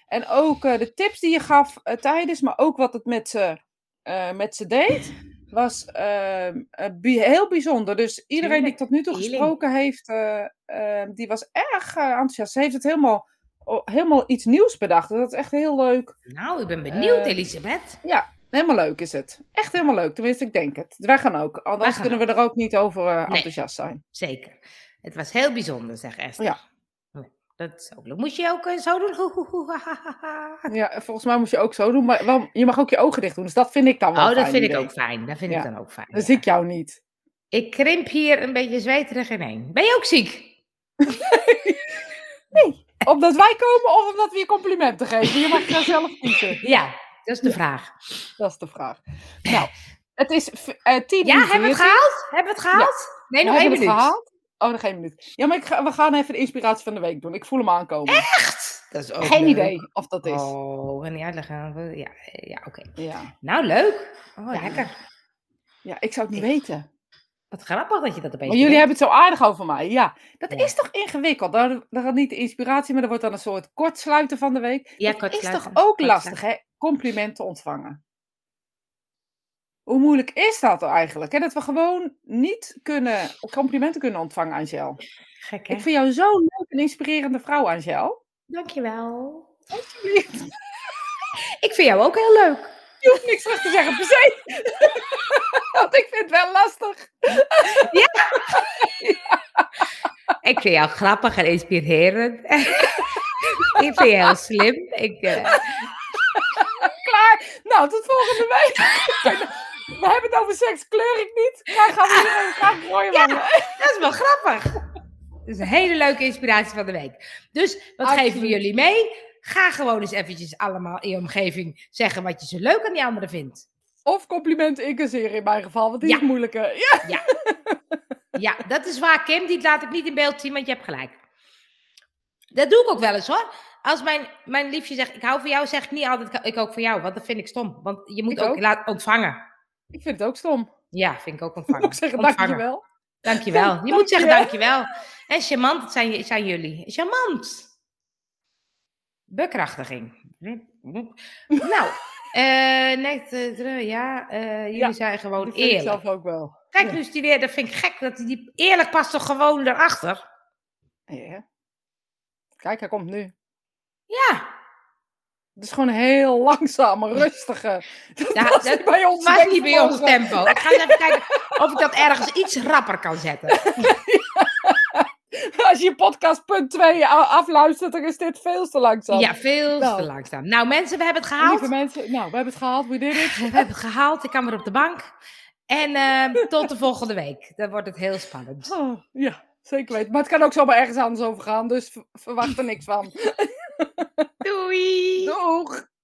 B: En ook eh, de tips die je gaf eh, tijdens, maar ook wat het met ze, eh, met ze deed, was ehm, eh, bi- heel bijzonder. Dus iedereen die ik tot nu toe
A: Healing.
B: gesproken heeft, eh, eh, die was erg eh, enthousiast. Ze heeft het helemaal, o- helemaal iets nieuws bedacht. Dat is echt heel leuk.
A: Nou, ik ben benieuwd,
B: Eh,
A: Elisabeth.
B: Helemaal leuk is het. Echt helemaal leuk. Tenminste, ik denk het. Wij gaan ook. Anders
A: Wij gaan
B: kunnen we er ook niet over eh, enthousiast zijn.
A: Zeker. Het was heel bijzonder, zeg Esther.
B: Ja.
A: Ja, Dat is ook leuk. Moest je ook eh, zo doen? Hoe, hoe, hoe, ha, ha, ha, ha.
B: Ja, en volgens mij moet je ook zo doen. Maar wel, je mag ook je ogen dicht doen. Dus dat vind ik dan wel
A: Oh, dat
B: fijn,
A: vind
B: die
A: ik ook
B: weet.
A: fijn. Dat vind ik
B: Ja.
A: dan ook fijn.
B: Dan
A: ja.
B: zie ik jou niet.
A: Ik krimp hier een beetje zweterig in heen. Ben je ook ziek?
B: Omdat wij komen of omdat we je complimenten geven. Je mag daar zelf kiezen.
A: Ja, dat is de vraag.
B: Dat is de vraag. Nou, het is v- eh, tien
A: Ja,
B: uur
A: hebben we het
B: veertien.
A: gehaald? Hebben we het gehaald? Nee, nog
B: Hebben
A: één
B: we het
A: minuut.
B: gehaald? Oh, nog één minuut. Ja, maar ik ga- we gaan even de inspiratie van de week doen. Ik voel hem aankomen.
A: Echt? Dat is ook
B: Geen
A: leuk.
B: idee Dus. of dat is.
A: Oh, ik kan niet uitleggen. Ja, ja oké.
B: Ja.
A: Nou, leuk. Oh, lekker.
B: ja, ik zou het niet weten.
A: Wat grappig dat je dat opeens
B: Maar jullie
A: doet.
B: hebben het zo aardig over mij. Ja, dat
A: Ja.
B: is toch ingewikkeld? Daar, daar gaat niet de inspiratie, maar er wordt dan een soort kortsluiten van de week.
A: Ja,
B: dat is toch
A: kortsluiten,
B: ook lastig,
A: kortsluiten.
B: hè? Complimenten ontvangen. Hoe moeilijk is dat eigenlijk? Hè? Dat we gewoon niet kunnen, complimenten kunnen ontvangen, Angel.
A: Gek, hè?
B: Ik vind jou zo'n leuk en inspirerende vrouw, Angel.
A: Dankjewel.
B: Alsjeblieft.
A: Ik vind jou ook heel leuk.
B: Je hoeft niks terug te zeggen, per se. Want ik vind het wel lastig.
A: Ik vind jou grappig en inspirerend. ik vind je heel slim. Ik, eh,
B: Klaar. Nou, tot volgende week. We hebben het over seks, kleur ik niet. Graag gaan we hier een graag mooi
A: Ja. dat is wel grappig. Dat is een hele leuke inspiratie van de week. Dus wat
B: Absoluut.
A: geven we jullie mee? Ga gewoon eens eventjes allemaal in je omgeving zeggen wat je zo leuk aan die anderen vindt.
B: Of complimenten incasseren in mijn geval, want die
A: Ja.
B: is moeilijker. Ja.
A: Ja, dat is waar, Kim. Die laat ik niet in beeld zien, want je hebt gelijk. Dat doe ik ook wel eens hoor. Als mijn, mijn liefje zegt, ik hou van jou, zeg ik niet altijd, ik ook van jou. Want dat vind ik stom. Want je moet
B: Ik
A: ook,
B: ook.
A: laten ontvangen.
B: Ik vind het ook stom.
A: Ja, vind ik ook
B: Ik
A: ontvangen.
B: moet zeggen,
A: Ontvangen.
B: dankjewel.
A: Dankjewel. Je moet zeggen
B: Dankjewel.
A: dankjewel. En charmant dat zijn, zijn jullie. Charmant. Bekrachtiging. Nou, eh, net, eh, dr- ja, eh, jullie
B: Ja,
A: zijn
B: Dat
A: gewoon
B: vind ik
A: eerlijk.
B: zelf ook wel.
A: Kijk,
B: ja.
A: dus die weer, dat vind ik gek. Dat die, die eerlijk past toch gewoon erachter?
B: Ja. Kijk, hij komt nu.
A: Ja,
B: Het is gewoon heel langzaam, rustige. Dat
A: Ja,
B: past
A: dat
B: niet bij ons.
A: het was niet bij ons
B: denkvermogen.
A: tempo. Ik ga eens even kijken of ik dat ergens iets rapper kan zetten.
B: Als je podcast punt 2 a- afluistert, dan is dit veel te langzaam.
A: Ja, veel
B: Nou.
A: te langzaam. Nou mensen, we hebben het gehaald.
B: Lieve mensen, nou, we hebben het gehaald. We did it.
A: We hebben het gehaald. Ik kan weer op de bank. En eh, tot de volgende week. Dan wordt het heel spannend.
B: Oh, ja, zeker weten. Maar het kan ook zomaar ergens anders over gaan, dus v- verwacht er niks van.
A: Doei!
B: Doeg!